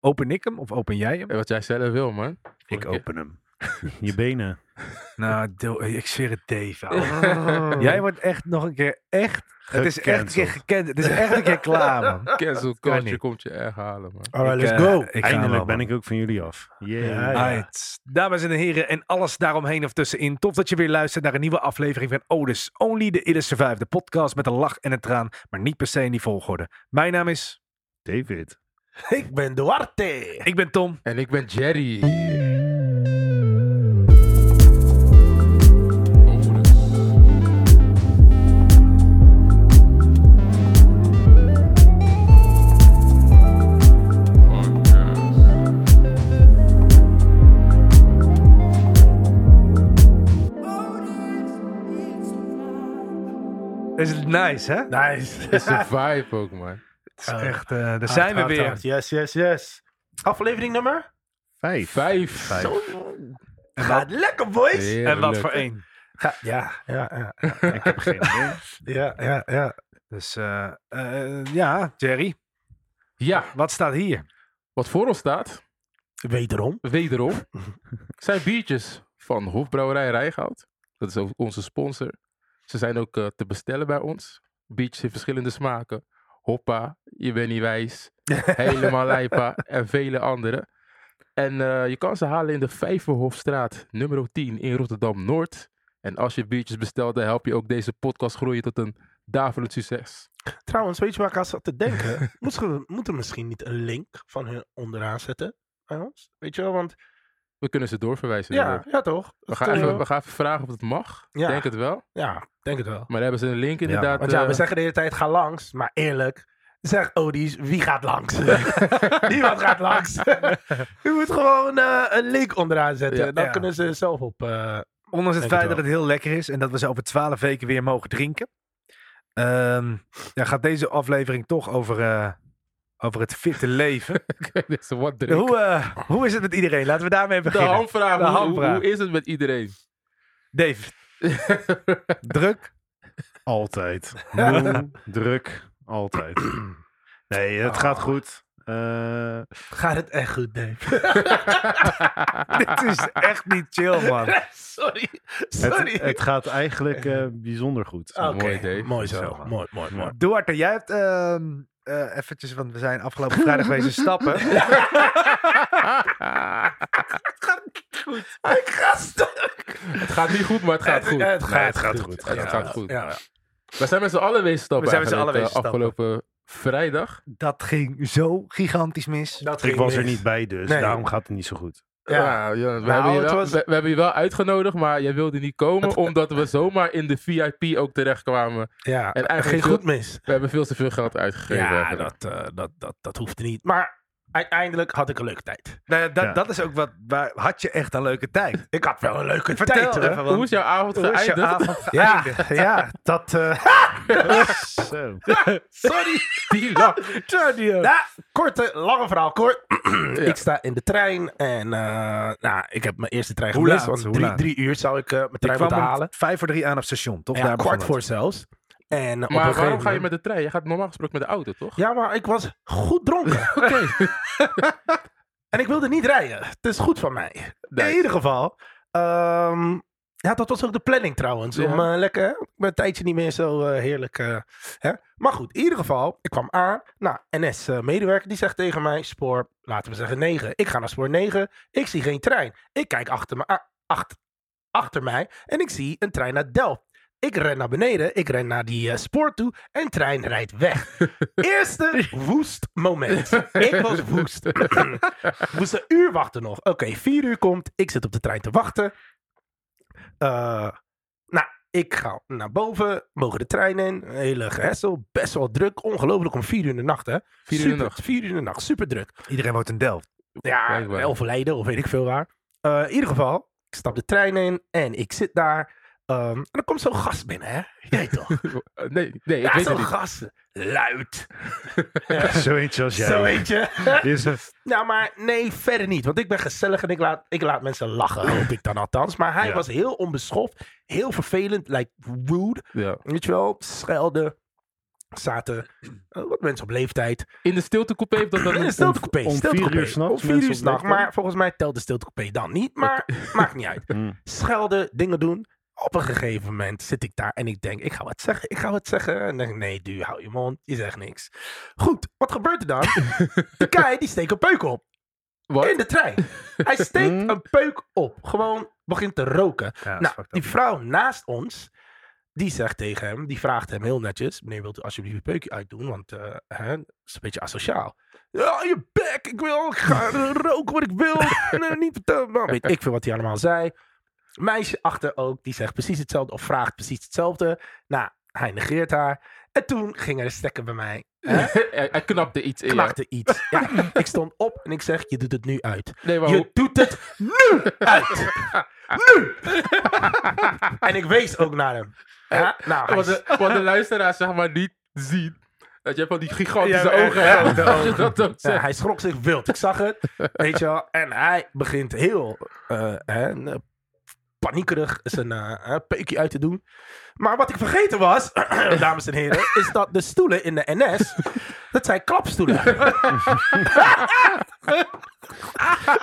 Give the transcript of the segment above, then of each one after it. Open ik hem of open jij hem? Hey, wat jij zelf wil, man. Ik oké. open hem. Je benen. Nou, Dil- ik zweer het Dave. Oh. ouwe. jij wordt echt nog een keer echt... Het is echt een keer Gecanceld. gekend. Het is echt een keer klaar, man. Cancel kan culture niet. komt je echt halen, man. Alright, Ik, let's eh, go. ik ga wel, Eindelijk ben man. ik ook van jullie af. Yeah. Ja, ja. Alright. Dames en heren, en alles daaromheen of tussenin. Tof dat je weer luistert naar een nieuwe aflevering van Otis. Only the Illest Survive. De podcast met een lach en een traan, maar niet per se in die volgorde. Mijn naam is... David. Ik ben Duarte. Ik ben Tom. En ik ben Jerry. Dat is nice, hè? Nice. Het is een vibe ook, man. Het is echt... eh, Ah, daar zijn we Hard, hard, weer. hard. Yes, yes, yes. Aflevering nummer? Vijf. Vijf. Vijf. Zo Gaat lekker, boys. En wat voor heerlijk. één. Ga- ja, ja, ja, Ik heb geen idee. ja, ja, ja. Dus eh, eh, ja, Jerry, Ja, wat staat hier? wat voor ons staat, Wederom. wederom, zijn biertjes van Hofbrouwerij Rijgoud. Dat is ook onze sponsor. Ze zijn ook eh, te bestellen bij ons. Biertjes in verschillende smaken. Hoppa, je bent niet wijs. Helemaal lijpa en vele andere. En eh, je kan ze halen in de Vijverhofstraat, nummer 10 in Rotterdam-Noord. En als je biertjes bestelt, dan help je ook deze podcast groeien tot een daverend succes. Trouwens, weet je waar ik aan zat te denken? moeten we moeten we misschien niet een link van hun onderaan zetten bij ons? Weet je wel, want... We kunnen ze doorverwijzen. Ja, inderdaad. ja toch? we, gaan Dat, even, eh, we gaan even vragen of het mag. Ja. Denk het wel. Ja, denk het wel. Maar daar hebben ze een link inderdaad. Want ja, eh, we zeggen de hele tijd ga langs, maar eerlijk, zeg Odies, wie gaat langs? Niemand gaat langs. Je moet gewoon eh, een link onderaan zetten. Ja. Dan Ja. kunnen ze zelf op. eh, Ondanks het Denk het feit wel. dat het heel lekker is en dat we ze over twaalf weken weer mogen drinken, ehm, ja, gaat deze aflevering toch over, eh, over het fitte leven. dit is wat druk. hoe, eh, hoe is het met iedereen? Laten we daarmee de beginnen. handvraag. De hoe- handvraag. Hoe, hoe is het met iedereen? Dave, druk. Altijd. Moe, druk, altijd. Nee, het gaat Ah. goed. Eh, gaat het echt goed, Dave? Dit is echt niet chill, man. Oh. sorry, sorry. het, het gaat eigenlijk eh, bijzonder goed. Ah, Oké, Mooi, Dave. mooi zo. Zo, man. Mooi, mooi, mooi. Duarte, jij hebt ehm, eh, eventjes, want we zijn afgelopen vrijdag wezen stappen. Ik ga stuk. het gaat niet goed, maar het gaat goed. Eh, Het gaat, het gaat goed. goed. Het Ja, gaat goed. ja. We zijn met z'n allen wezen stappen. We zijn met z'n eigenlijk, allen eh, wezen Afgelopen vrijdag. Dat ging zo gigantisch mis. Dat Ik ging was er mis. niet bij, dus Nee. daarom gaat het niet zo goed. Ja. Ja, ja, we, Nou, hebben je het wel, was- we, we hebben je wel uitgenodigd, maar jij wilde niet komen. Omdat we zomaar in de VIP ook terechtkwamen. ja. En Het ging eigenlijk goed mis. We hebben veel te veel geld uitgegeven. Ja, eigenlijk. dat, eh, dat, dat, dat hoefde niet. Maar uiteindelijk had ik een leuke tijd. Nou ja, dat, Ja. dat is ook wat. Waar, had je echt een leuke tijd? Ik had wel een leuke Vertel tijd. hoor. even, want Hoe is jouw avond hoe is geëindigd? je avond Ja, geëindigd? ja, dat. eh, Zo. sorry. Die lach. Nou, korte, lange verhaal kort. Ja. Ik sta in de trein en eh, nou, ik heb mijn eerste trein Hoe gemist. laat? Want Hoe drie, laat? drie uur zou ik eh, mijn Ik trein kwam moeten om halen. vijf voor drie aan op het station, toch? Ja, Daar kwart begon voor het. zelfs. En op een Maar gegeven waarom ga je moment- met de trein? Je gaat normaal gesproken met de auto, toch? Ja, maar ik was goed dronken. Oké. en ik wilde niet rijden. Het is goed van mij. In Nee. ieder geval. ehm, ja, dat was ook de planning trouwens. Ja. Om eh, lekker, ik ben een tijdje niet meer zo eh, heerlijk. eh, hè? Maar goed, in ieder geval, ik kwam aan. Nou, NS-medewerker die zegt tegen mij, spoor, laten we zeggen 9. Ik ga naar spoor 9. Ik zie geen trein. Ik kijk achter, me, a- acht- achter mij en ik zie een trein naar Delft. Ik ren naar beneden, ik ren naar die eh, spoor toe en trein rijdt weg. Eerste woest moment. Ik was woest. Ik moest een uur wachten nog. Oké, vier uur komt. Ik zit op de trein te wachten. Eh, nou, ik ga naar boven. Mogen de trein in. Een hele gehessel. Best wel druk. Ongelooflijk om vier uur in de nacht, hè? Vier uur in de super, nacht. Vier uur in de nacht. Super druk. Iedereen woont in Delft. Ja, Blijkbaar. overlijden of weet ik veel waar. Eh, in ieder geval, ik stap de trein in en ik zit daar. Ehm, en er komt zo'n gast binnen, hè? Jij toch? Nee, nee, ik weet ja, het zo'n niet. gast. Luid. Zo eentje als jij. Zo weet je. Dit is een- Nou, maar nee, verder niet. Want ik ben gezellig en ik laat, ik laat mensen lachen, hoop ik dan althans. Maar hij Ja. was heel onbeschoft, heel vervelend, like rude. Ja. Weet je wel, schelde. zaten eh, wat mensen op leeftijd. In de stiltecoupé heeft dat dan In de niet? stiltecoupé. om stiltecoupé. vier uur 's nachts Om vier mensen uur 's op nachts, leeftijd. Maar volgens mij telt de stiltecoupé dan niet. Maar maakt niet uit. Mm. Schelden, dingen doen. Op een gegeven moment zit ik daar en ik denk, ik ga wat zeggen, ik ga wat zeggen. En dan denk ik, nee, du, hou je mond, je zegt niks. Goed, wat gebeurt er dan? De kei, die steekt een peuk op. Wat? In de trein. Hij steekt Mm. een peuk op. Gewoon begint te roken. Hmm? Ja, dat is nou, fucked die up. vrouw naast ons, die zegt tegen hem, die vraagt hem heel netjes: Meneer, wilt u alsjeblieft een peukje uitdoen? Want eh, hè, dat is een beetje asociaal. Ja, je bek, ik wil, ik ga roken wat ik wil. Nee, niet vertellen. Nou, weet ik veel wat hij allemaal zei. Meisje achter ook, die zegt precies hetzelfde of vraagt precies hetzelfde. Nou, hij negeert haar. En toen ging er stekken bij mij. Hè? hij, hij knapte iets in. ja. Knakte iets. Ja, ik stond op en ik zeg: Je doet het nu uit. Nee, maar Je hoe- doet het nu uit. Nu! en ik wees ook naar hem. Ja? Nou, hij Wat de, wat de luisteraar zeg maar niet ziet. Dat je van die gigantische Ja, echt ogen hebt. grote Als je dat ook Ja, zegt. hij schrok zich wild. Ik zag het. Weet je wel. En hij begint heel eh, hè, eh, paniekerig zijn eh, eh, peukje uit te doen. Maar wat ik vergeten was, dames en heren, is dat de stoelen in de NS, dat zijn klapstoelen.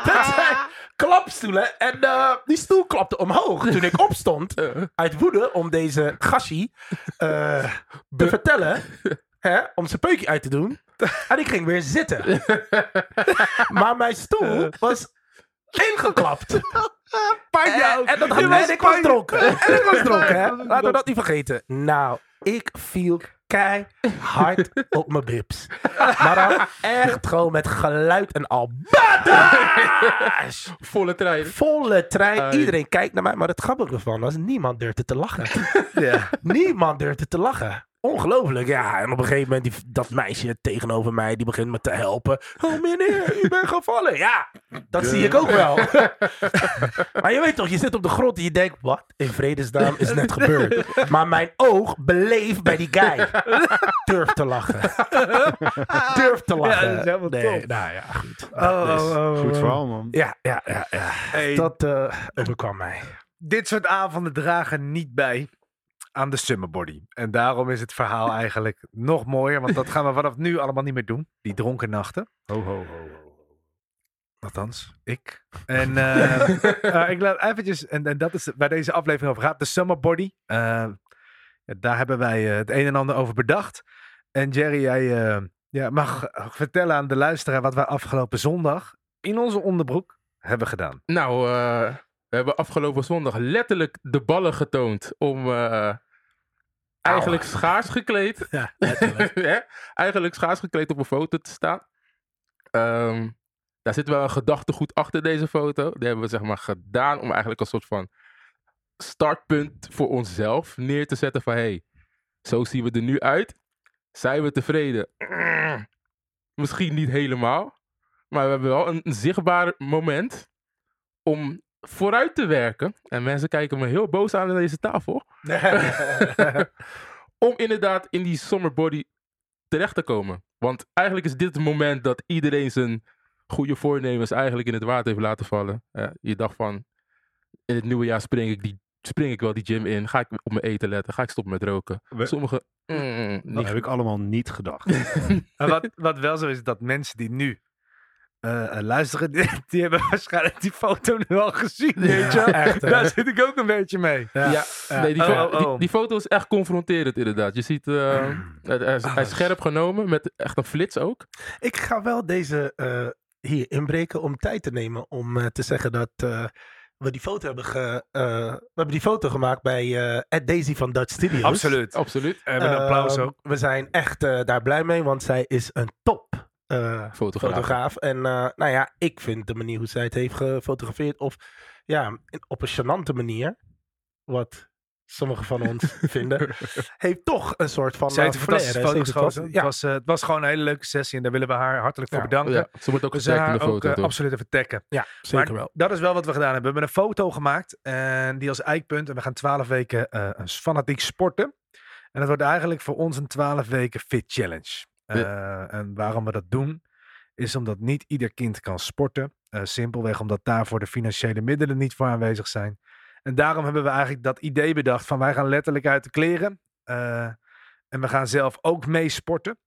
dat zijn klapstoelen. En eh, die stoel klapte omhoog toen ik opstond Eh, uit woede om deze gashi eh, te vertellen. Hè, om zijn peukje uit te doen. En ik ging weer zitten. maar mijn stoel was ingeklapt. Eh, en, en, dat had, en ik was dronken. En ik was dronken, hè. Laten we dat niet vergeten. Nou, ik viel keihard op mijn bips. Maar dan echt gewoon met geluid en al. Badass! Volle trein. Volle trein. Ai. Iedereen kijkt naar mij. Maar het grappige van was, niemand durfde te lachen. Ja. niemand durfde te lachen. Ongelooflijk, ja. En op een gegeven moment, die, dat meisje tegenover mij, die begint me te helpen. Oh meneer, u bent gevallen. Ja, dat zie ik ook wel. maar je weet toch, je zit op de grond en je denkt, wat in vredesnaam is net gebeurd. maar mijn oog beleef bij die guy. Durf te lachen. Durf te lachen. dat is helemaal nee, top. Nou ja, goed. Oh, Dus, oh, oh, oh. Goed verhaal, man. Ja, ja, ja. ja. Hey, Dat eh, overkwam mij. Dit soort avonden dragen niet bij aan de summerbody. En daarom is het verhaal eigenlijk nog mooier. Want dat gaan we vanaf nu allemaal niet meer doen. Die dronken nachten. Ho, ho, ho, ho. Althans, ik. En eh, eh, ik laat eventjes, en, en dat is waar deze aflevering over gaat, de summerbody. Eh, daar hebben wij eh, het een en ander over bedacht. En Jerry, jij eh, ja, mag eh, vertellen aan de luisteraar wat wij afgelopen zondag in onze onderbroek hebben gedaan. Nou, eh, we hebben afgelopen zondag letterlijk de ballen getoond om eh, eigenlijk schaars gekleed. Ja, hè, eigenlijk schaars gekleed op een foto te staan. Ehm, daar zit wel een gedachtegoed achter deze foto. Die hebben we zeg maar gedaan om eigenlijk een soort van startpunt voor onszelf neer te zetten van hey, zo zien we er nu uit. Zijn we tevreden? Mm, Misschien niet helemaal. Maar we hebben wel een een zichtbaar moment om vooruit te werken. En mensen kijken me heel boos aan aan deze tafel. om inderdaad in die summer body terecht te komen. Want eigenlijk is dit het moment dat iedereen zijn goede voornemens eigenlijk in het water heeft laten vallen. Eh, je dacht van, in het nieuwe jaar spring ik, die, spring ik wel die gym in. Ga ik op mijn eten letten. Ga ik stoppen met roken. We- Sommigen... mm, Dat niet. heb ik allemaal niet gedacht. Maar wat, wat wel zo is, dat mensen die nu eh, eh, luisteren, die, die hebben waarschijnlijk die foto nu al gezien. Weet je? echt, hè? Daar zit ik ook een beetje mee. Ja, nee, die, Oh, fo- oh, Mm. oh. Die, die foto is echt confronterend inderdaad. Je ziet, eh, het- hij, is, hij Oh, is scherp genomen met echt een flits ook. Ik ga wel deze eh, hier inbreken om tijd te nemen om eh, te zeggen dat eh, we die foto hebben, ge, eh, we hebben die foto gemaakt bij eh Ed Daisy van Dutch Studios. Absoluut. Oh, Absoluut. We hebben een applaus Eh, ook. We zijn echt eh, daar blij mee, want zij is een top eh, Fotograaf. fotograaf. En eh, nou ja, ik vind de manier hoe zij het heeft gefotografeerd, of ja, in- op een gênante manier, wat sommigen van ons vinden, heeft toch een soort van. Zij heeft eh, een flair, fantastische foto hè. Ze heeft het geschoten. wel- Het, Ja, was, eh, het was gewoon een hele leuke sessie en daar willen we haar hartelijk voor Ja. bedanken. Ja, ze wordt ook We zijn getagd in de haar ook foto. eh, toch? absoluut even taggen. ja, zeker Maar wel. Nou, Dat is wel wat we gedaan hebben. We hebben een foto gemaakt. En die als eikpunt. En we gaan twaalf weken eh, als fanatiek sporten. En dat wordt eigenlijk voor ons een twaalf weken fit challenge. Eh, En waarom we dat doen, is omdat niet ieder kind kan sporten. Eh, simpelweg omdat daarvoor de financiële middelen niet voor aanwezig zijn. En daarom hebben we eigenlijk dat idee bedacht van wij gaan letterlijk uit de kleren. eh, En we gaan zelf ook mee sporten.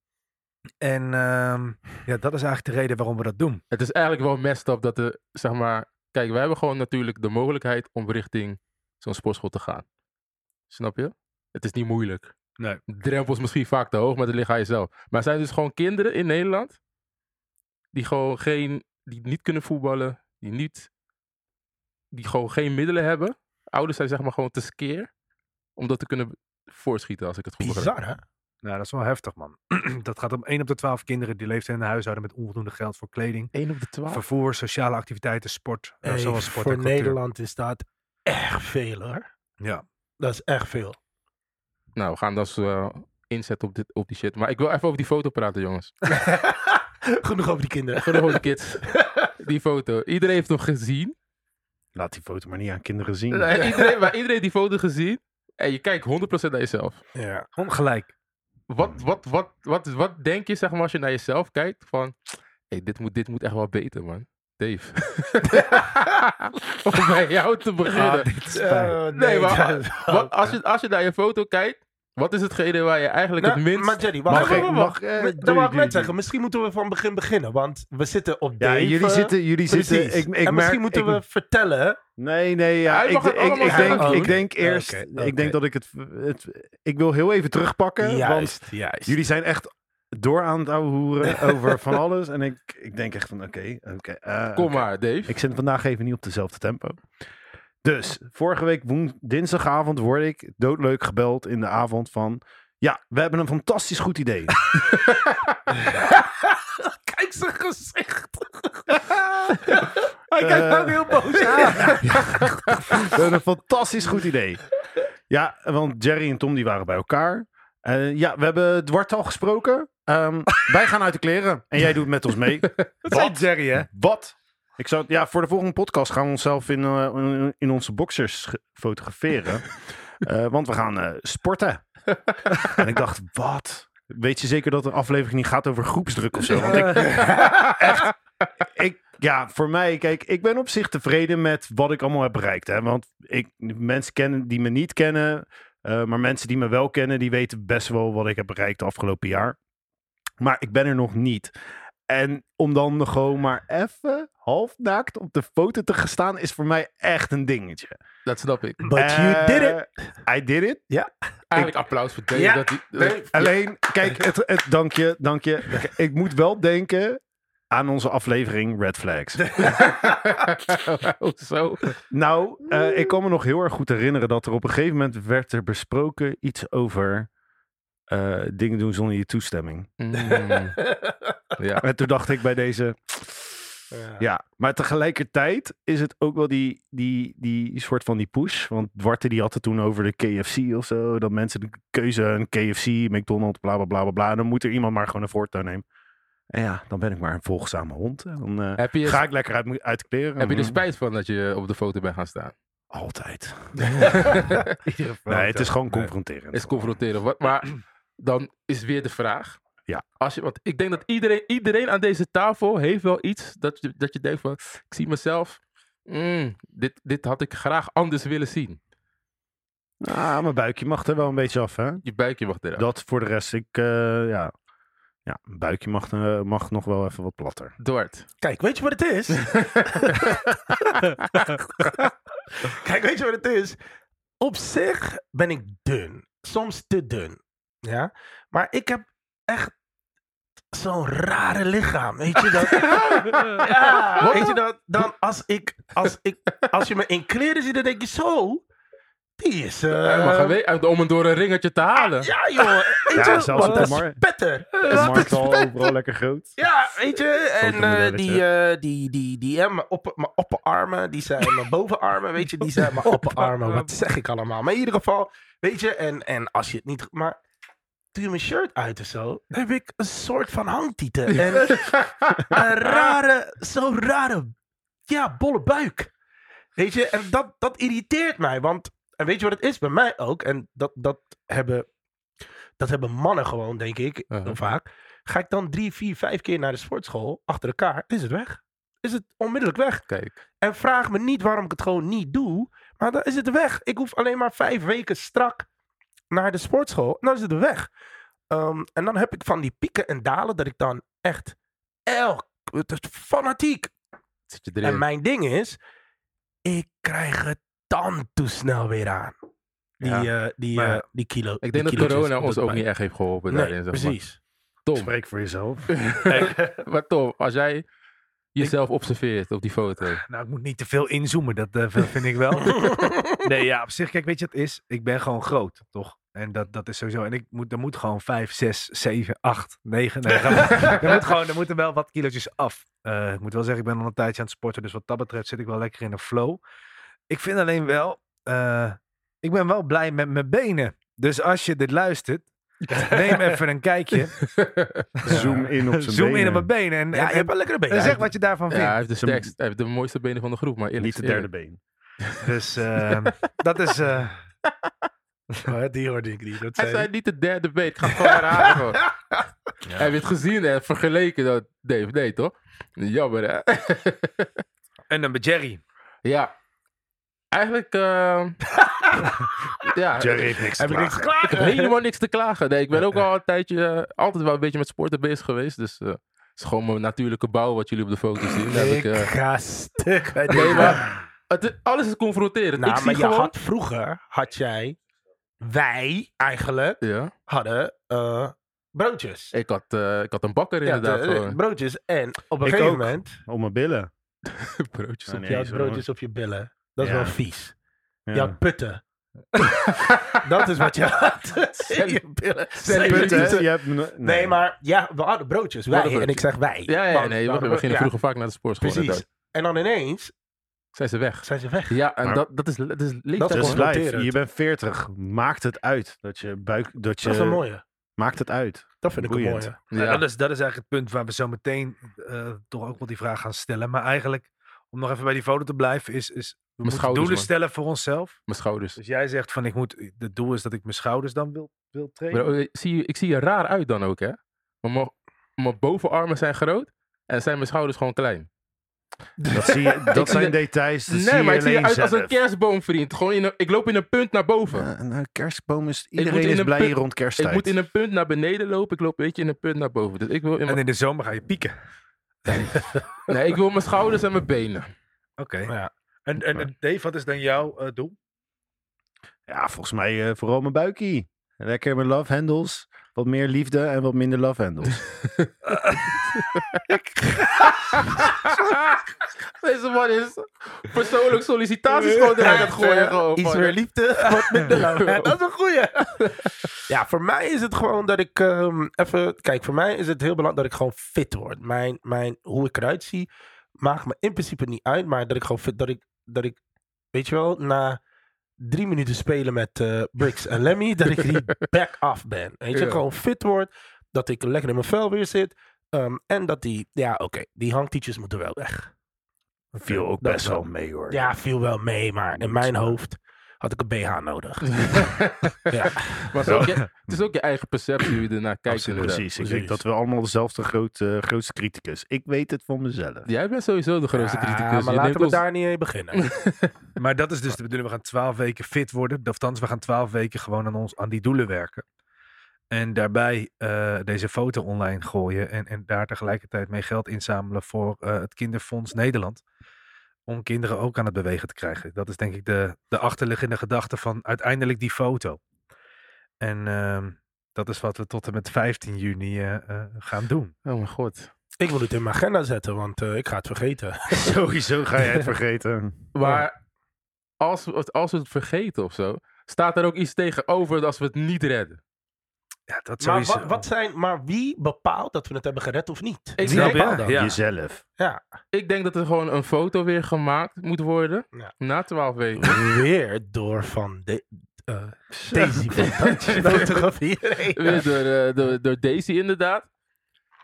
En ehm, ja, dat is eigenlijk de reden waarom we dat doen. Het is eigenlijk wel messed up dat de, zeg maar... Kijk, wij hebben gewoon natuurlijk de mogelijkheid om richting zo'n sportschool te gaan. Snap je? Het is niet moeilijk. Nee. De drempel is misschien vaak te hoog, maar dat ligt aan jezelf. Maar er zijn dus gewoon kinderen in Nederland die gewoon geen... Die niet kunnen voetballen, die niet... Die gewoon geen middelen hebben. Ouders zijn zeg maar gewoon te skeer om dat te kunnen voorschieten, als ik het goed begrijp. Bizar, hè? Nou, dat is wel heftig, man. dat gaat om 1 op de 12 kinderen die leeft in een huishouden met onvoldoende geld voor kleding, 1 op de 12? vervoer, sociale activiteiten, sport. eh, Hey, zoals sport voor en cultuur. Nederland is dat echt veel, hoor. Ja. Dat is echt veel. Nou, we gaan dus eh inzetten op, dit, op die shit. Maar ik wil even over die foto praten, jongens. Genoeg over die kinderen. Voor de holy kids. Die foto. Iedereen heeft hem gezien. Laat die foto maar niet aan kinderen zien. Eh, Iedereen, maar iedereen heeft die foto gezien. En je kijkt 100% naar jezelf. Ja. Ongelijk. Wat, wat, wat, wat, wat denk je, zeg maar, als je naar jezelf kijkt? Van, hey, dit, moet, dit moet echt wel beter, man. Dave. Om bij jou te beginnen. Ah, dit is fijn. Eh, Nee, maar dat- Wat, als, je, als je naar je foto kijkt, wat is hetgene waar je eigenlijk Nou, het minst... Maar Jerry, Mag wacht ik- even. mag, Mag, eh, doe dat je- wou ik doe net je- zeggen. Misschien moeten we van begin beginnen. Want we zitten op Ja, Dave. eh, jullie zitten, jullie Precies. zitten. Ik, ik en merk, misschien moeten ik- we vertellen. Nee, nee, ja, Hij ik, mag het ik, allemaal ik, zelf denk, doen. ik denk eerst, Oh, Oké, ik oké. denk dat ik het, het, ik wil heel even terugpakken, want juist, juist. jullie zijn echt door aan het ouwehoeren over van alles. En ik, ik denk echt van, oké, oké. eh, Kom oké. maar, Dave. Ik zit vandaag even niet op dezelfde tempo. Dus, vorige week woens- dinsdagavond word ik doodleuk gebeld in de avond van... Ja, we hebben een fantastisch goed idee. Kijk zijn gezicht. Hij Kijk, ook heel boos. We hebben een fantastisch goed idee. Ja, want Jerry en Tom die waren bij elkaar. Eh, ja, we hebben Dwart al gesproken. Ehm, wij gaan uit de kleren en jij doet met ons mee. Dat zei Jerry, hè? Wat? Ik zou, ja, voor de volgende podcast gaan we onszelf in, eh, in- in onze boxers ge- fotograferen. Eh, want we gaan eh, sporten. en ik dacht, wat? Weet je zeker dat de aflevering niet gaat over groepsdruk of zo? Want ik, ik, ja, voor mij, kijk, ik ben op zich tevreden met wat ik allemaal heb bereikt. Hè? Want ik, mensen kennen die me niet kennen, eh, maar mensen die me wel kennen, die weten best wel wat ik heb bereikt de afgelopen jaar. Maar ik ben er nog niet. En om dan gewoon maar even halfnaakt op de foto te gaan staan, is voor mij echt een dingetje. Dat snap ik. But you did it. Eh, I did it. Eigenlijk applaus voor Dave. Ja, dat hij- dat- Dave. Alleen, kijk, het, het, dank je, dank je. Ik- Ik moet wel denken aan onze aflevering Red Flags. Oh, zo. Nou, eh, ik kan me nog heel erg goed herinneren dat er op een gegeven moment werd er besproken iets over eh, dingen doen zonder je toestemming. Mm, Eh. ja. En toen dacht ik bij deze, ja. Maar tegelijkertijd is het ook wel die, die, die soort van die push. Want Dwarte die had het toen over de KFC of zo. Dat mensen de keuze een KFC, McDonald's, bla bla bla bla bla. En dan moet er iemand maar gewoon een voortouw nemen. En ja, dan ben ik maar een volgzame hond. En dan eh, Heb, je, ga ik lekker uit, m'n- uit de kleren. heb je dus er En, eh, spijt van dat je op de foto bent gaan staan? Altijd. Iedere foto. Nee, het is gewoon Nee. confronterend. Is confronteren. Wat, maar dan is weer de vraag. Ja. Als je, want ik denk dat iedereen, iedereen aan deze tafel heeft wel iets dat je, dat je denkt van... Ik zie mezelf... mm, dit, dit had ik graag anders willen zien. Ah, mijn buikje mag er wel een beetje af, hè? Je buikje mag eruit. Dat voor de rest, ik, eh, ja. Ja, mijn buikje mag, eh, mag nog wel even wat platter. Dort. Kijk, weet je wat het is? Kijk, weet je wat het is? Op zich ben ik dun. Soms te dun. Ja? Maar ik heb echt zo'n rare lichaam. Weet je dat? ja, weet je dat? Dan als, ik, als, ik, als je me in kleren ziet, dan denk je zo. Die is. eh, maar gewe- om het door een ringetje te halen. ja, joh. Weet Ja, je, zelfs wat op een de markt. spetter. De markt al overal lekker groot. Ja, weet je. En eh, die, modelletje. eh, die, die, die, hè, mijn oppe- mijn opperarmen, die zijn mijn bovenarmen, weet je. Die zijn mijn opperarmen, wat zeg ik allemaal. Maar in ieder geval, weet je. En, en als je het niet... Maar doe je mijn shirt uit en zo, dan heb ik een soort van hangtieten. En een rare, zo'n rare, ja, bolle buik. Weet je, en dat, dat irriteert mij. Want, en weet je wat het is bij mij ook? En dat, dat, hebben, dat hebben mannen gewoon, denk ik, Uh-huh. heel vaak. Ga ik dan drie, vier, vijf keer naar de sportschool achter elkaar, is het weg. Is het onmiddellijk weg. Kijk. En vraag me niet waarom ik het gewoon niet doe. Maar dan is het weg. Ik hoef alleen maar vijf weken strak naar de sportschool. En dan is het weg. Ehm, en dan heb ik van die pieken en dalen dat ik dan echt elk, het is fanatiek. Zit je erin? En mijn ding is, ik krijg het dan te snel weer aan. Die, eh, die, maar- eh, die kilo. Ik denk dat corona ons ook niet echt heeft geholpen Nee, daarin. Zeg maar. precies. Tom, Spreek voor jezelf. maar Tom, als jij jezelf observeert op die foto. Nou, ik moet niet te veel inzoomen, dat eh, vind ik wel. nee, ja, op zich, kijk, weet je wat het is? Ik ben gewoon groot, toch? En dat, dat is sowieso. En ik moet, er moet gewoon 5, 6, 7, 8, 9. Nee, grapje. er, moet gewoon, er moeten wel wat kilo's af. Eh, ik moet wel zeggen, ik ben al een tijdje aan het sporten. Dus wat dat betreft zit ik wel lekker in een flow. Ik vind alleen wel. eh, ik ben wel blij met mijn benen. Dus als je dit luistert, neem even een kijkje. Zoom in op zijn Zoom in op mijn benen. benen. En, Ja, je en, hebt wel lekker en benen. zeg wat je daarvan Ja, vindt. hij heeft, de Zijn- sterkste, hij heeft de mooiste benen van de groep, maar eerlijk Niet de is derde eerlijk. been. Dus eh, dat is. eh, Oh, die hoorde ik niet. Dat Hij zei zei... niet de derde been, ik ga het gewoon herhalen. gewoon. Heb je het gezien en vergeleken dat Dave? Nee, toch? Jammer, hè? En dan bij Jerry. ja. Eigenlijk, eh, ja. Jerry heeft niks te Heb ik niks klagen. klaar? Ik heb helemaal niks te klagen. Nee, ik ben ook al een tijdje, eh, altijd wel een beetje met sporten bezig geweest. Dus eh, het is gewoon mijn natuurlijke bouw wat jullie op de foto zien. Daar heb ik, Ik eh, ga stuk. bij nee, deze. maar het is- alles is confronterend. ik Nou, zie maar je gewoon... had vroeger, had jij, wij eigenlijk, Ja, hadden eh, broodjes. ik had, eh, ik had een bakker Ja, inderdaad. de- eh, gewoon. broodjes. En op een Ik gegeven ook. moment, Om mijn billen. broodjes Ah, op- nee, je had zo broodjes op je billen. Dat is Ja. wel vies. Ja. Je had putten. dat is wat je had. je billen. Zijn Zijn putten, Punt, hè? putten. Je hebt no- nee. Nee, maar ja, we hadden broodjes. Wij, hadden en ik broodjes. zeg wij. Ja, ja, Want nee, wacht, we we hadden- beginnen ja, vroeger vaak naar de sportschool. Precies. inderdaad. En dan ineens Zijn ze weg. zijn ze weg. Ja, en Maar- dat, dat is, dat is leeftijd. Dat is gewoon. Just confronterend. life. Je bent 40. Maakt het uit dat je buik. Dat je, Dat is een mooie. Maakt het uit. Dat vind ik een Boeiend. mooie. Nou, Ja. dat, is, dat is eigenlijk het punt waar we zo meteen eh, toch ook wel die vraag gaan stellen. Maar eigenlijk, om nog even bij die foto te blijven, is, is we moeten schouders, doelen man. stellen voor onszelf. Mijn schouders. Dus jij zegt van, ik moet, het doel is dat ik mijn schouders dan wil, wil trainen. Maar, eh, zie je- ik zie er raar uit dan ook, hè? Maar mijn, mijn bovenarmen zijn groot en zijn mijn schouders gewoon klein. Dat, zie je, dat zie zijn de- details. Dat nee, zie maar je ik zie alleen eruit als zelf. een kerstboomvriend. Gewoon in een, ik loop in een punt naar boven. Nou, nou, kerstboom is. moet Iedereen in is een blij punt- rond kersttijd. ik moet in een punt naar beneden lopen. Ik loop een beetje in een punt naar boven. Dus ik wil, in en mijn, in de zomer ga je pieken. Oké. nee, ik wil mijn schouders en mijn benen. Ja. En, en, en Dave, wat is dan jouw eh, doel? Ja, volgens mij eh, vooral mijn buikie. Lekker mijn love handles. Wat meer liefde en wat minder love handles. Deze man is persoonlijk sollicitaties gewoon eruit aan het gooien. Gewoon, Iets man. meer liefde, wat minder love. Ja, Dat is een goeie. Ja, voor mij is het gewoon dat ik ehm, even... Kijk, voor mij is het heel belangrijk dat ik gewoon fit word. Mijn, mijn, hoe ik eruit zie maakt me in principe niet uit. Maar dat ik gewoon fit... Dat ik, dat ik weet je wel, na drie minuten spelen met eh Bricks en Lemmy... dat ik die back af ben. Weet je, Ja. gewoon fit word. Dat ik lekker in mijn vel weer zit. ehm, en dat die... Ja, oké, die hangtietjes moeten wel weg. Viel ook Dat best wel. wel mee hoor. Ja, viel wel mee, maar in mijn hoofd had ik een BH nodig. ja. Maar het is, ook je, het is ook je eigen perceptie hoe je ernaar kijkt. Absoluut, inderdaad. precies. Ik Precies. denk dat we allemaal dezelfde grote, grootste criticus. Ik weet het van mezelf. Jij bent sowieso de grootste Ja, criticus. Je maar neemt laten we ons- daar niet mee beginnen. Maar dat is dus de bedoeling. We gaan twaalf weken fit worden. Althans, we gaan twaalf weken gewoon aan, ons, aan die doelen werken. En daarbij eh, deze foto online gooien. En, en daar tegelijkertijd mee geld inzamelen voor eh, het Kinderfonds Nederland. Om kinderen ook aan het bewegen te krijgen. Dat is denk ik de, de achterliggende gedachte van uiteindelijk die foto. En ehm, dat is wat we tot en met 15 juni eh, eh, gaan doen. Oh mijn god. ik wil het in mijn agenda zetten, want eh, ik ga het vergeten. Sowieso ga jij het vergeten. Maar als we, het- als we het vergeten of zo, staat er ook iets tegenover als we het niet redden. Ja, dat Maar, sowieso. wat, wat zijn, maar wie bepaalt dat we het hebben gered of niet? Ik Wie snap, bepaalt ja, dat? ja. Jezelf. Ja. Ik denk dat er gewoon een foto weer gemaakt moet worden Ja. na 12 weken. Weer door van de, eh Daisy van Dutch fotografie. Weer door, eh, door, door Daisy inderdaad.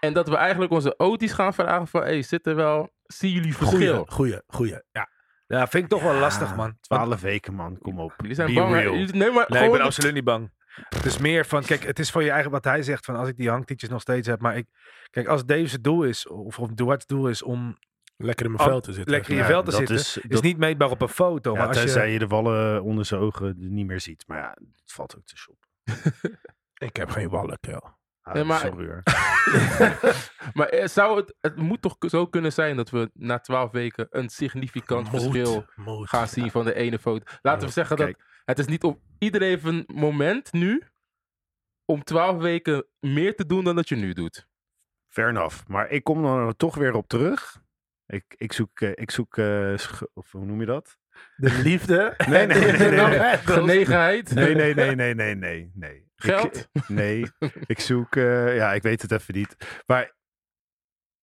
En dat we eigenlijk onze oties gaan vragen van, hey, zit er wel, zien jullie verschil? Goeie, goeie, goeie. Ja. Ja, vind ik toch wel lastig, Ja, man. Twaalf weken, man. Kom op. Jullie zijn Be bang. hè? real. Jullie- nee, maar Nee, ik gewoon, ben absoluut niet bang. Het is meer van, kijk, het is voor je eigen, wat hij zegt, van als ik die hangtietjes nog steeds heb. Maar ik, kijk, als Dave zijn doel is, of, of Duarte's doel is om, Lekker in mijn Oh, vel te zitten. lekker in Ja. je vel te dat zitten, is- is, dat- niet meetbaar op een foto. Ja, maar als tenzij je, je... de wallen onder zijn ogen niet meer ziet. Maar ja, het valt ook te shop. Ik heb geen wallen, joh. Ah, Nee, maar- sorry hoor. Maar eh, zou het, het moet toch zo kunnen zijn dat we na twaalf weken een significant verschil Moed. gaan zien van de ene foto. Laten we zeggen dat het is niet op iedereen heeft een moment nu om twaalf weken meer te doen dan dat je nu doet. Fair enough. Maar ik kom dan toch weer op terug. Ik, ik zoek, eh, ik zoek eh, sch- of hoe noem je dat? De liefde. Nee, nee, nee, nee, nee. Genegenheid. Nee, nee, nee, nee, nee, nee, nee. Ik- eh, Geld? nee, ik zoek, eh, ja, ik weet het even niet. Maar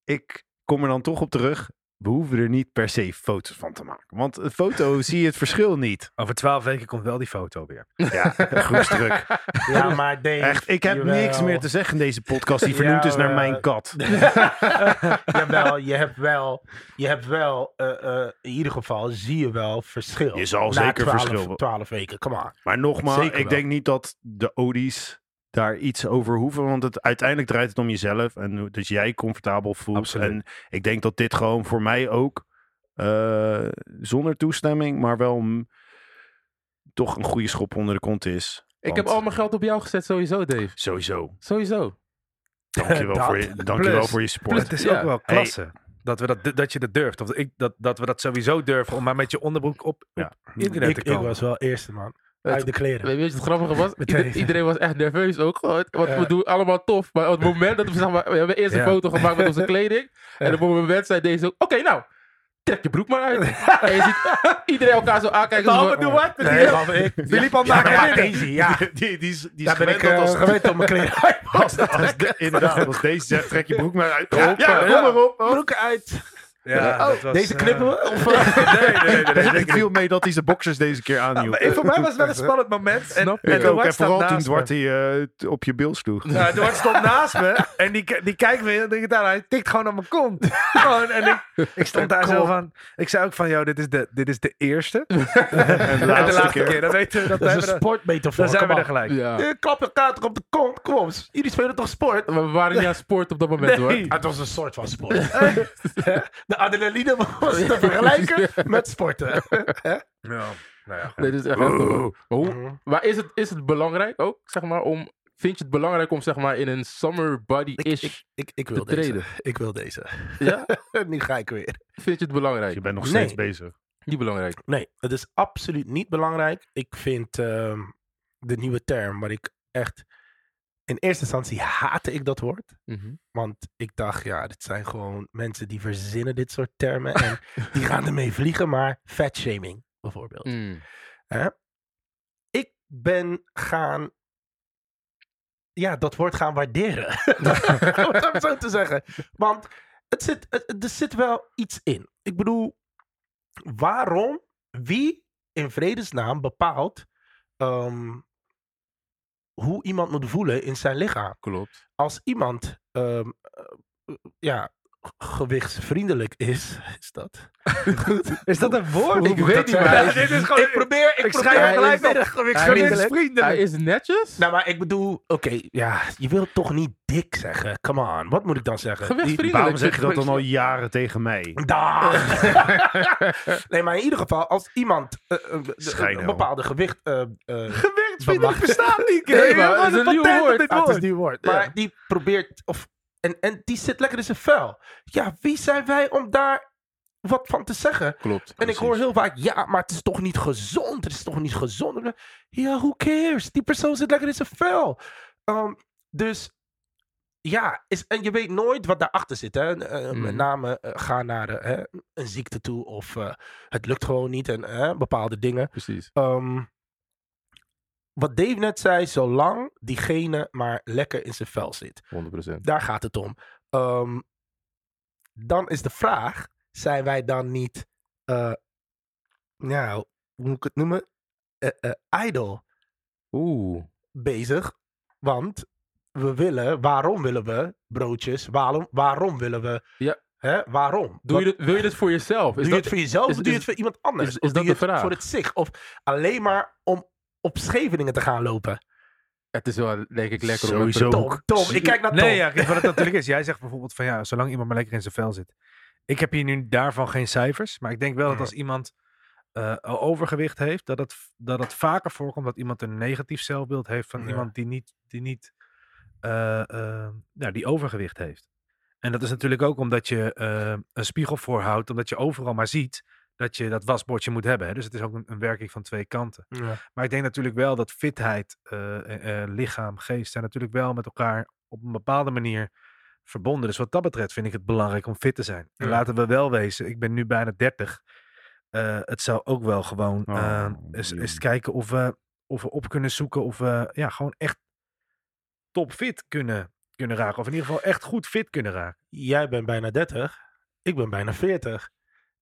ik kom er dan toch op terug. We hoeven er niet per se foto's van te maken. Want een foto zie je het verschil niet. Over twaalf weken komt wel die foto weer. Ja, groepsdruk. Ja, maar Dave. Echt, ik heb jawel. niks meer te zeggen in deze podcast die vernoemd is naar Jawel. mijn kat. Jawel, je hebt wel, je hebt wel eh, eh, in ieder geval zie je wel verschil. Je zal Na zeker 12 verschil- 12 weken, kom on. Maar nogmaals, Zeker ik wel. denk niet dat de Odies daar iets over hoeven. Want het, uiteindelijk draait het om jezelf. En hoe- dat jij je comfortabel voelt. Absoluut. En ik denk dat dit gewoon voor mij ook eh, zonder toestemming, maar wel m- toch een goede schop onder de kont is. Ik heb al mijn geld op jou gezet sowieso, Dave. Sowieso. Sowieso. Dankjewel, Dat. voor, je, dankjewel Plus. voor je Het support. is Ja. ook wel klasse. Dat, we dat, dat je dat durft. Of ik, dat, dat we dat sowieso durven om maar met je onderbroek op, Ja. op internet Ik, te ik komen. was wel eerste man. Het- Uit de kleren. Weet je wat het grappige was? Meteen. Ieder- iedereen was echt nerveus ook. Want we Ja. doen allemaal tof. Maar op het moment dat we, zeg maar, we hebben eerst een Ja. foto gemaakt met onze kleding. En op het moment zei deze ook, oké nou, trek je broek maar uit. en je ziet iedereen elkaar zo aankijken. zo van, Oh, wat? Nee, gaf ik. Philippe al Ja, maar- maken easy, ja. Die, die, die is, die is Daar ben gewend ik dat eh, als, gewend om mijn kleren uit. als, als de- inderdaad, als deze zegt, trek je broek maar uit. Ja, ja. kom maar op. Oh. Broeken uit. Ja, dat was, Deze eh, knippen we? Of, eh? nee, nee, nee. nee, Oh, Ik viel mee dat hij zijn boxers deze keer aanhield. Maar eh, voor mij was het wel een spannend moment. En, Snap en Ik ook. Duarte En staat vooral toen naast me. Dwarte je eh, t- op je bil sloeg. Ja, Duarte stond naast me en die, k- die kijkt me en denk ik, nou, hij tikt gewoon aan mijn kont. Gewoon, en ik, ik stond daar zo van. Ik zei ook van, joh, dit is de, dit is de eerste. en En de de laatste, laatste keer. keer. Dan weten we dat Dat is hebben we een dat- sportmetafoor. dan zijn we come er on. gelijk. Ja. Eh, Klap elkaar toch op de kont. Kom op. Jullie spelen toch sport? Maar We waren niet aan sport op dat moment Nee. hoor. Het was een soort van sport. de adrenaline was te vergelijken met sporten. Ja, nou ja, Nee, dit is echt Maar hoe, maar is het, is het belangrijk ook, zeg maar, om... Vind je het belangrijk om, zeg maar, in een summer body-ish... ik, wil Te deze. treden. Ik wil deze. Ja? nu ga ik weer. Vind je het belangrijk? Je bent nog Nee. steeds bezig. Niet belangrijk. Nee, het is absoluut niet belangrijk. Ik vind ehm, de nieuwe term waar ik echt... In eerste instantie haatte ik dat woord. Want ik dacht, ja, dit zijn gewoon mensen die verzinnen dit soort termen. En die gaan ermee vliegen, maar fatshaming bijvoorbeeld. Mm. Ik ben gaan... Ja, dat woord gaan waarderen. om het zo te zeggen. Want het zit, het- het- er zit wel iets in. Ik bedoel, waarom, wie in vredesnaam bepaalt ehm, hoe iemand moet voelen in zijn lichaam? Klopt. Als iemand ehm, eh, ja, g- gewichtsvriendelijk is, is dat. Is dat een woord? Ik weet niet, maar hij is- dit is gewoon... ik probeer, ik, ik schrijf er probeer gelijk hij is op. gewichtsvriendelijk. Hij vrienden. is netjes? Nou, maar ik bedoel, oké, ja, je wilt toch niet dik zeggen? Come on, wat moet ik dan zeggen? Die- Gewichtsvriendelijk. Waarom zeg je dat dan al jaren tegen mij? Daar. nee, maar in ieder geval, als iemand eh, eh, de- Schijn een wel. bepaalde gewicht. eh, eh, Gewichtsvriendelijk Bemachtigd. bestaat niet. Nee, Nee, maar maar het is een een nieuw patent op woord. dit ah, het is woord. die woord. Ja. Maar die probeert. Of, en, en die zit lekker in zijn vuil. Ja, wie zijn wij om daar wat van te zeggen? Klopt. En ik hoor heel vaak, ja, maar het is toch niet gezond? Het is toch niet gezond? Ja, who cares? Die persoon zit lekker in zijn vel. Ehm, dus ja, is, en je weet nooit wat daarachter zit. Hè? Eh, Mhm. Met name eh, gaan naar eh, hè, een ziekte toe of eh, het lukt gewoon niet en eh, bepaalde dingen. Precies. Ehm, wat Dave net zei, zolang diegene maar lekker in zijn vel zit 100%. daar gaat het om. Ehm, dan is de vraag: zijn wij dan niet, eh, nou, hoe moet ik het noemen? Eh, eh, idol Oeh. bezig? Want we willen, waarom willen we broodjes? Waarom, waarom willen we? Ja. Hè, waarom? Doe je dit, wil je dit voor jezelf? Doe Is je dat, het voor jezelf is- of doe je is- het voor iemand anders? is of doe dat je de het vraag? voor het zich? Of alleen maar om op Scheveningen te gaan lopen? het is wel, denk ik, lekker om Sowieso. het- Tom, Tom, ik kijk naar Tom. Nee, ja, kijk, wat het natuurlijk is. Jij zegt bijvoorbeeld van ja, zolang iemand maar lekker in zijn vel zit. Ik heb hier nu daarvan geen cijfers. Maar ik denk wel dat als iemand eh, overgewicht heeft, dat het, dat het vaker voorkomt dat iemand een negatief zelfbeeld heeft van Ja. iemand die niet, die niet, eh, eh, ja, die overgewicht heeft. En dat is natuurlijk ook omdat je eh, een spiegel voorhoudt, omdat je overal maar ziet dat je dat wasbordje moet hebben. Hè? Dus het is ook een, een werking van twee kanten. Ja. Maar ik denk natuurlijk wel dat fitheid, eh, eh, eh, lichaam, geest zijn natuurlijk wel met elkaar op een bepaalde manier verbonden. Dus wat dat betreft vind ik het belangrijk om fit te zijn. En Ja. laten we wel wezen, ik ben nu bijna 30. Eh, het zou ook wel gewoon Oh, eh, eens, jong. eens kijken of we, of we op kunnen zoeken. Of we ja, gewoon echt topfit kunnen, kunnen raken. Of in ieder geval echt goed fit kunnen raken. Jij bent bijna 30, ik ben bijna 40.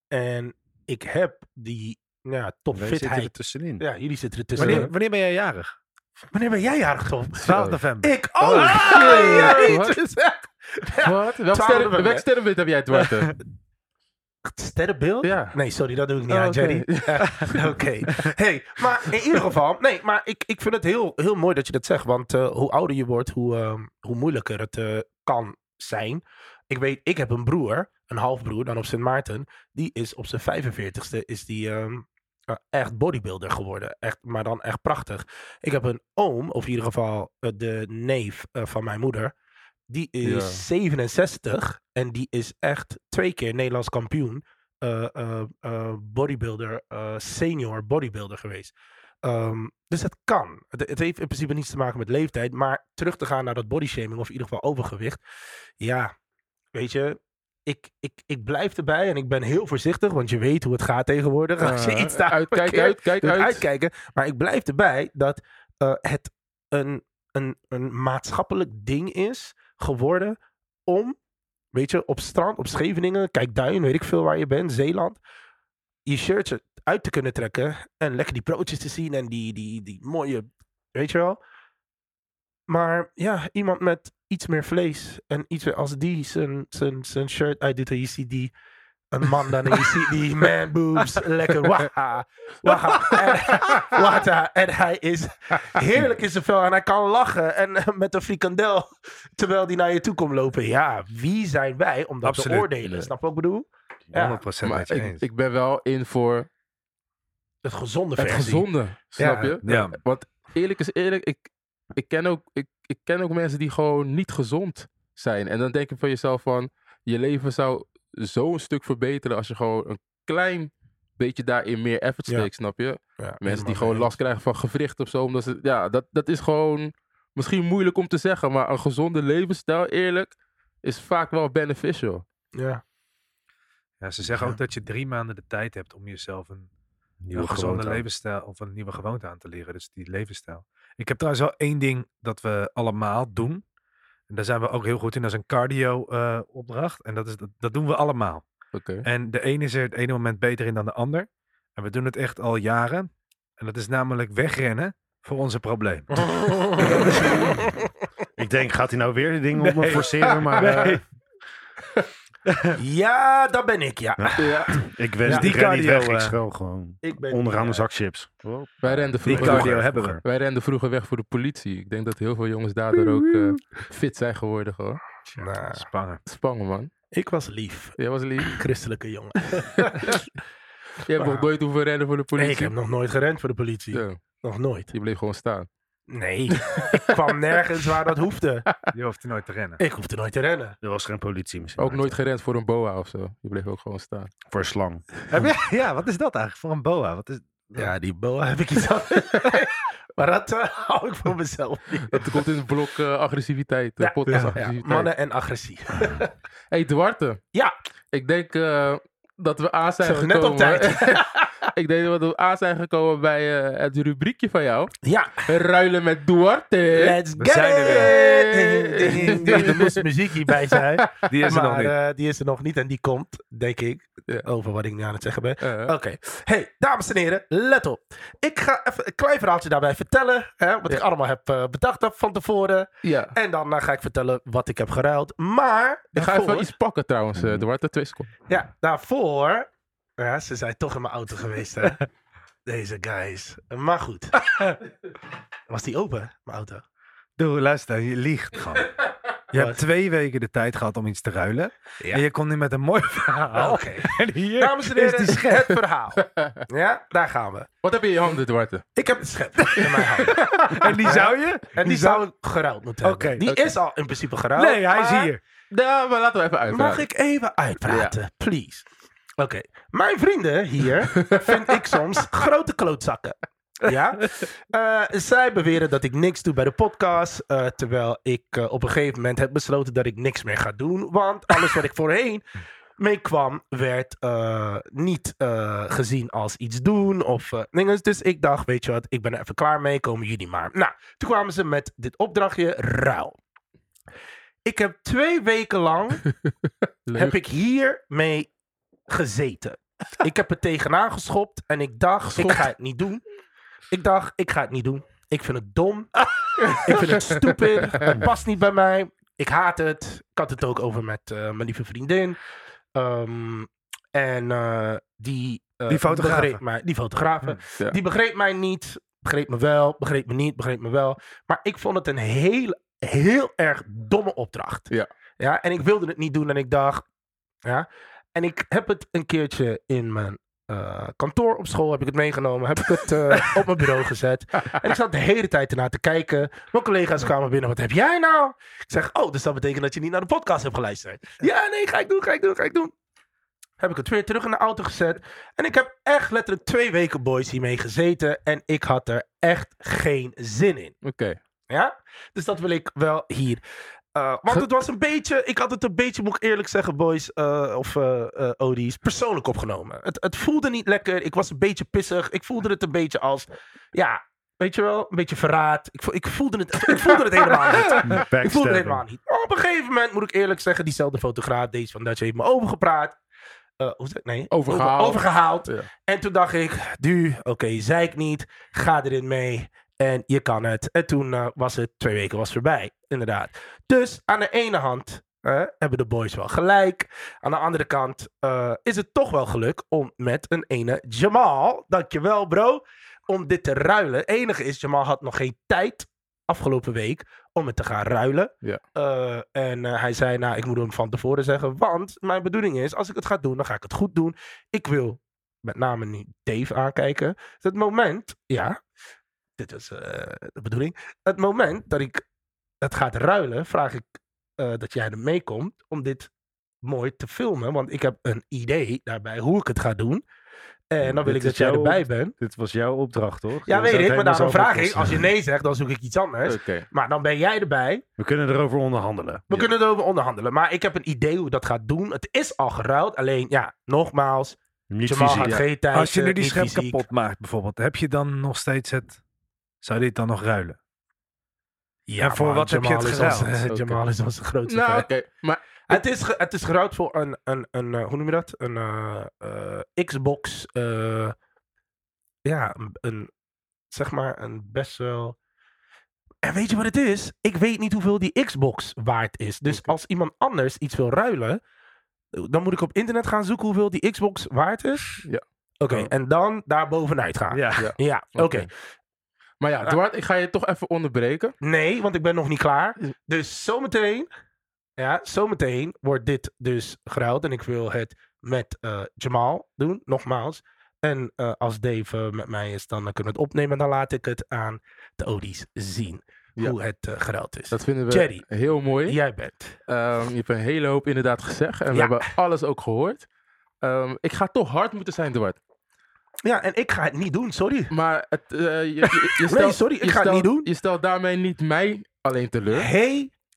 En ik heb die nou ja, Wij zitten er topfitheid. tussenin. Ja, jullie zitten er tussen. Wanneer, wanneer ben jij jarig? Wanneer ben jij jarig, Tom? 12 november. Ik ook! Oh, Ah, ja, shit. het is echt- Wat? Welk Twaalf sterren- november, welk hè? sterrenbeeld heb jij, Dwarte? Sterrenbeeld? Ja. Nee, sorry, dat doe ik niet Oh, aan, oké. Jerry. Oké. Hey, maar in ieder geval, nee, maar ik, ik vind het heel, heel mooi dat je dat zegt. Want eh, hoe ouder je wordt, hoe, ehm, hoe moeilijker het eh, kan zijn. Ik weet, ik heb een broer, een halfbroer dan op Sint Maarten. Die is op zijn 45ste is die, ehm, eh, echt bodybuilder geworden. Echt, maar dan echt prachtig. Ik heb een oom, of in ieder geval eh, de neef eh, van mijn moeder. Die is Ja. 67 en die is echt twee keer Nederlands kampioen. eh, eh, eh, bodybuilder, eh, senior bodybuilder geweest. Ehm, dus het kan. Het, het heeft in principe niets te maken met leeftijd. Maar terug te gaan naar dat bodyshaming of in ieder geval overgewicht. Ja, weet je, ik, ik, ik blijf erbij en ik ben heel voorzichtig, want je weet hoe het gaat tegenwoordig. Als je Eh, iets daar uit, kijk parkeert, uit, kijk moet je uit. uitkijken. Maar ik blijf erbij dat eh, het een, een, een maatschappelijk ding is geworden om, weet je, op strand, op Scheveningen, kijk Duin, weet ik veel waar je bent, Zeeland, je shirtje uit te kunnen trekken en lekker die broodjes te zien en die, die, die mooie, weet je wel. Maar ja, iemand met iets meer vlees en iets meer, als die zijn, zijn, zijn shirt uitdoet en je ziet die een man dan en je ziet die man boobs lekker waha, waha, en, waha. En hij is heerlijk in zijn vel en hij kan lachen en eh, met een frikandel terwijl die naar je toe komt lopen. Ja, wie zijn wij om dat te Absoluut. oordelen? Snap je wat ik bedoel? Ja, 100% met Maar je ik, eens. ik ben wel in voor het gezonde het versie. gezonde, snap Ja, je? ja. Want eerlijk is eerlijk, ik, ik, ken ook, ik, ik ken ook mensen die gewoon niet gezond zijn. En dan denk je van jezelf van, je leven zou zo'n stuk verbeteren als je gewoon een klein beetje daarin meer effort Ja. steekt, snap je? Ja, Mensen helemaal die gewoon mee. last krijgen van gewricht of zo. Omdat ze, ja, dat, dat is gewoon misschien moeilijk om te zeggen. Maar een gezonde levensstijl, eerlijk, is vaak wel beneficial. Ja. Ja, ze zeggen Ja. ook dat je drie maanden de tijd hebt om jezelf een, Nieuwe een gezonde gewoonte. levensstijl of een nieuwe gewoonte aan te leren. Dus die levensstijl. Ik heb trouwens wel één ding dat we allemaal doen. En daar zijn we ook heel goed in. Dat is een cardio-opdracht. en dat, is, dat, dat doen we allemaal. Oké. En de ene is er het ene moment beter in dan de ander. En we doen het echt al jaren. En dat is namelijk wegrennen voor onze probleem. Ik denk, gaat hij nou weer de dingen op me Nee. forceren? Maar eh, Ah, Nee. ja, dat ben ik, ja. Ja. eh, ik wens Ja. die Die ren niet cardio, weg. Ik eh, schreeuw gewoon Ik ben onderaan ja. de zak chips. Oh. Wij renden Die vroeger. cardio hebben we. Wij renden vroeger weg voor de politie. Ik denk dat heel veel jongens daardoor ook eh, fit zijn geworden gewoon. Nou, Spangen. Spangen man. ik was lief. Jij was lief. Christelijke jongen. Jij hebt nog nooit hoeven rennen voor de Nee, politie. ik heb nog nooit gerend voor de politie. Ja, Nog nooit. je bleef gewoon staan. Nee, ik kwam nergens waar dat hoefde. Je hoeft er nooit te rennen. Ik hoefde nooit te rennen. Er was geen politie misschien. Ook nooit gerend voor een boa of zo. Je bleef ook gewoon staan. Voor een slang. Heb je- ja, wat is dat eigenlijk voor een boa? Wat is, Ja, die boa heb ik iets aan. maar dat eh, hou ik voor mezelf. Dat komt in het blok eh, agressiviteit. eh, Ja, podcast ja, agressiviteit. mannen en agressie. hey, Duarte. Ja. Ik denk eh, dat we aan zijn Zo, gekomen. net op tijd. ik denk dat we aan zijn gekomen bij eh, het rubriekje van jou. ja, Ruilen met Duarte. let's We get zijn er it! weer. Ding, ding, ding. Er moest muziek hierbij zijn. Die is er maar nog niet. eh, die is er nog niet en die komt, denk ik, Ja. over wat ik nu aan het zeggen ben. Eh, Oké. Hey, dames en heren, let op. Ik ga even een klein verhaaltje daarbij vertellen. Hè, wat ik allemaal heb eh, bedacht heb van tevoren. ja. En dan eh, ga ik vertellen wat ik heb geruild. Maar. Ik ga daarvoor- even iets pakken trouwens, eh Duarte. Twee seconden. Ja, daarvoor. Ja, ze zijn toch in mijn auto geweest, hè? Deze guys. Maar goed. Was die open, mijn auto? Doe, luister, je liegt gewoon. Je hebt twee weken de tijd gehad om iets te ruilen. Oh. Ja. En je komt nu met een mooi verhaal. Oh, Oké. Oh. En hier Dames en is heren, die schep. het verhaal. Ja, daar gaan we. Wat heb je in je handen, Dwarte? Ik heb een schep in mijn hand. En die zou je? En die zou ik geruild moeten hebben. Oké, die oké. is al in principe geruild. Nee, hij is maar- hier. Nou, maar laten we even uitpraten. Mag ik even uitpraten, please? Oké, mijn vrienden hier vind ik soms grote klootzakken. Ja? Eh, zij beweren dat ik niks doe bij de podcast. eh, terwijl ik eh, op een gegeven moment heb besloten dat ik niks meer ga doen. Want alles wat ik voorheen mee kwam, werd eh, niet eh, gezien als iets doen of eh, dingen. Dus ik dacht, weet je wat, ik ben er even klaar mee, komen jullie maar. Nou, toen kwamen ze met dit opdrachtje, ruil. Ik heb twee weken lang Leuk. heb ik hiermee gezeten. Ik heb het tegenaan geschopt en ik dacht, ik ga het niet doen. Ik dacht, ik ga het niet doen. Ik vind het dom. ik vind het stupid. Het past niet bij mij. Ik haat het. Ik had het ook over met eh, mijn lieve vriendin. Ehm, en eh, die... eh, Die fotografen. begreep Mij, die fotografen. Ja. Die begreep mij niet. Begreep me wel. Begreep me niet. Begreep me wel. Maar ik vond het een heel, heel erg domme opdracht. Ja. ja. En ik wilde het niet doen en ik dacht... Ja. En ik heb het een keertje in mijn eh, kantoor op school heb ik het meegenomen. Heb ik het eh, op mijn bureau gezet. En ik zat de hele tijd ernaar te kijken. Mijn collega's kwamen binnen. Wat heb jij nou? Ik zeg, oh, dus dat betekent dat je niet naar de podcast hebt geluisterd. Ja, nee, ga ik doen, ga ik doen, ga ik doen. Heb ik het weer terug in de auto gezet. En ik heb echt letterlijk twee weken boys hiermee gezeten. En ik had er echt geen zin in. Oké. Ja? Dus dat wil ik wel hier. Eh, want het was een beetje, ik had het een beetje, moet ik eerlijk zeggen, boys eh, of eh eh, Odies, persoonlijk opgenomen. Het, het voelde niet lekker. Ik was een beetje pissig. Ik voelde het een beetje als, ja, weet je wel, een beetje verraad. Ik, vo- ik, voelde, het, ik voelde het helemaal niet. Ik voelde het helemaal niet. Maar op een gegeven moment moet ik eerlijk zeggen, diezelfde fotograaf, deze van Dutch, heeft me overgepraat. Eh, hoe zeg ik? Nee, Overgehaald. over- overgehaald. Ja. En toen dacht ik, du, oké, zei ik niet, ga erin mee en je kan het. En toen eh, was het twee weken was voorbij, inderdaad. Dus aan de ene hand eh, hebben de boys wel gelijk. Aan de andere kant eh, is het toch wel geluk om met een ene Jamal, dankjewel bro, om dit te ruilen. Het enige is, Jamal had nog geen tijd afgelopen week om het te gaan ruilen. Ja. Eh, en eh, hij zei, nou, ik moet hem van tevoren zeggen, want mijn bedoeling is, als ik het ga doen, dan ga ik het goed doen. Ik wil met name nu Dave aankijken. Dus het moment, ja, dit is eh, de bedoeling. Het moment dat ik het gaat ruilen, vraag ik eh, dat jij er meekomt om dit mooi te filmen. Want ik heb een idee daarbij hoe ik het ga doen. En dan wil Dit ik is dat jij jouw- erbij bent. Dit was jouw opdracht, toch? Ja, Je zou weet het ik, maar helemaal daarom zelf vraag ik. oplossen. Als je nee zegt, dan zoek ik iets anders. Oké. Maar dan ben jij erbij. We kunnen erover onderhandelen. We Ja. kunnen erover onderhandelen. Maar ik heb een idee hoe dat gaat doen. Het is al geruild. Alleen, ja, nogmaals. Niet Jamal fysiek. had geen tijd. Als je nu eh, die niet schep fysiek. kapot maakt bijvoorbeeld, heb je dan nog steeds het... Zou je dit dan nog ruilen? Ja, En voor maar wat heb je Jamal het is onze- geruild? eh, Jamal is onze grootste Nou, oké. fan. Maar Het is, ge- het is geruild voor een, een, een eh, hoe noem je dat? Een eh, eh, Xbox, eh, ja, een, een- zeg maar een best wel... En weet je wat het is? Ik weet niet hoeveel die Xbox waard is. Dus Oké. als iemand anders iets wil ruilen, dan moet ik op internet gaan zoeken hoeveel die Xbox waard is. Ja. Oké, Ja. en dan daar bovenuit gaan. Ja, Ja. oké. Ah. maar ja, Dwarte, ik ga je toch even onderbreken. Nee, want ik ben nog niet klaar. Dus zometeen, ja, zometeen wordt dit dus geruild. En ik wil het met eh, Jamal doen, nogmaals. En eh, als Dave eh, met mij is, dan eh, kunnen we het opnemen. En dan laat ik het aan de Odies zien Ja. hoe het eh, geruild is. Dat vinden we Jerry. heel mooi. Jij bent. Ehm, je hebt een hele hoop inderdaad gezegd. En we Ja. hebben alles ook gehoord. Ehm, ik ga toch hard moeten zijn, Dwart. Ja, en ik ga het niet doen, sorry. Maar het, eh, je, je, je stelt, sorry, ik je ga het stelt- niet doen. Je stelt daarmee niet mij alleen teleur.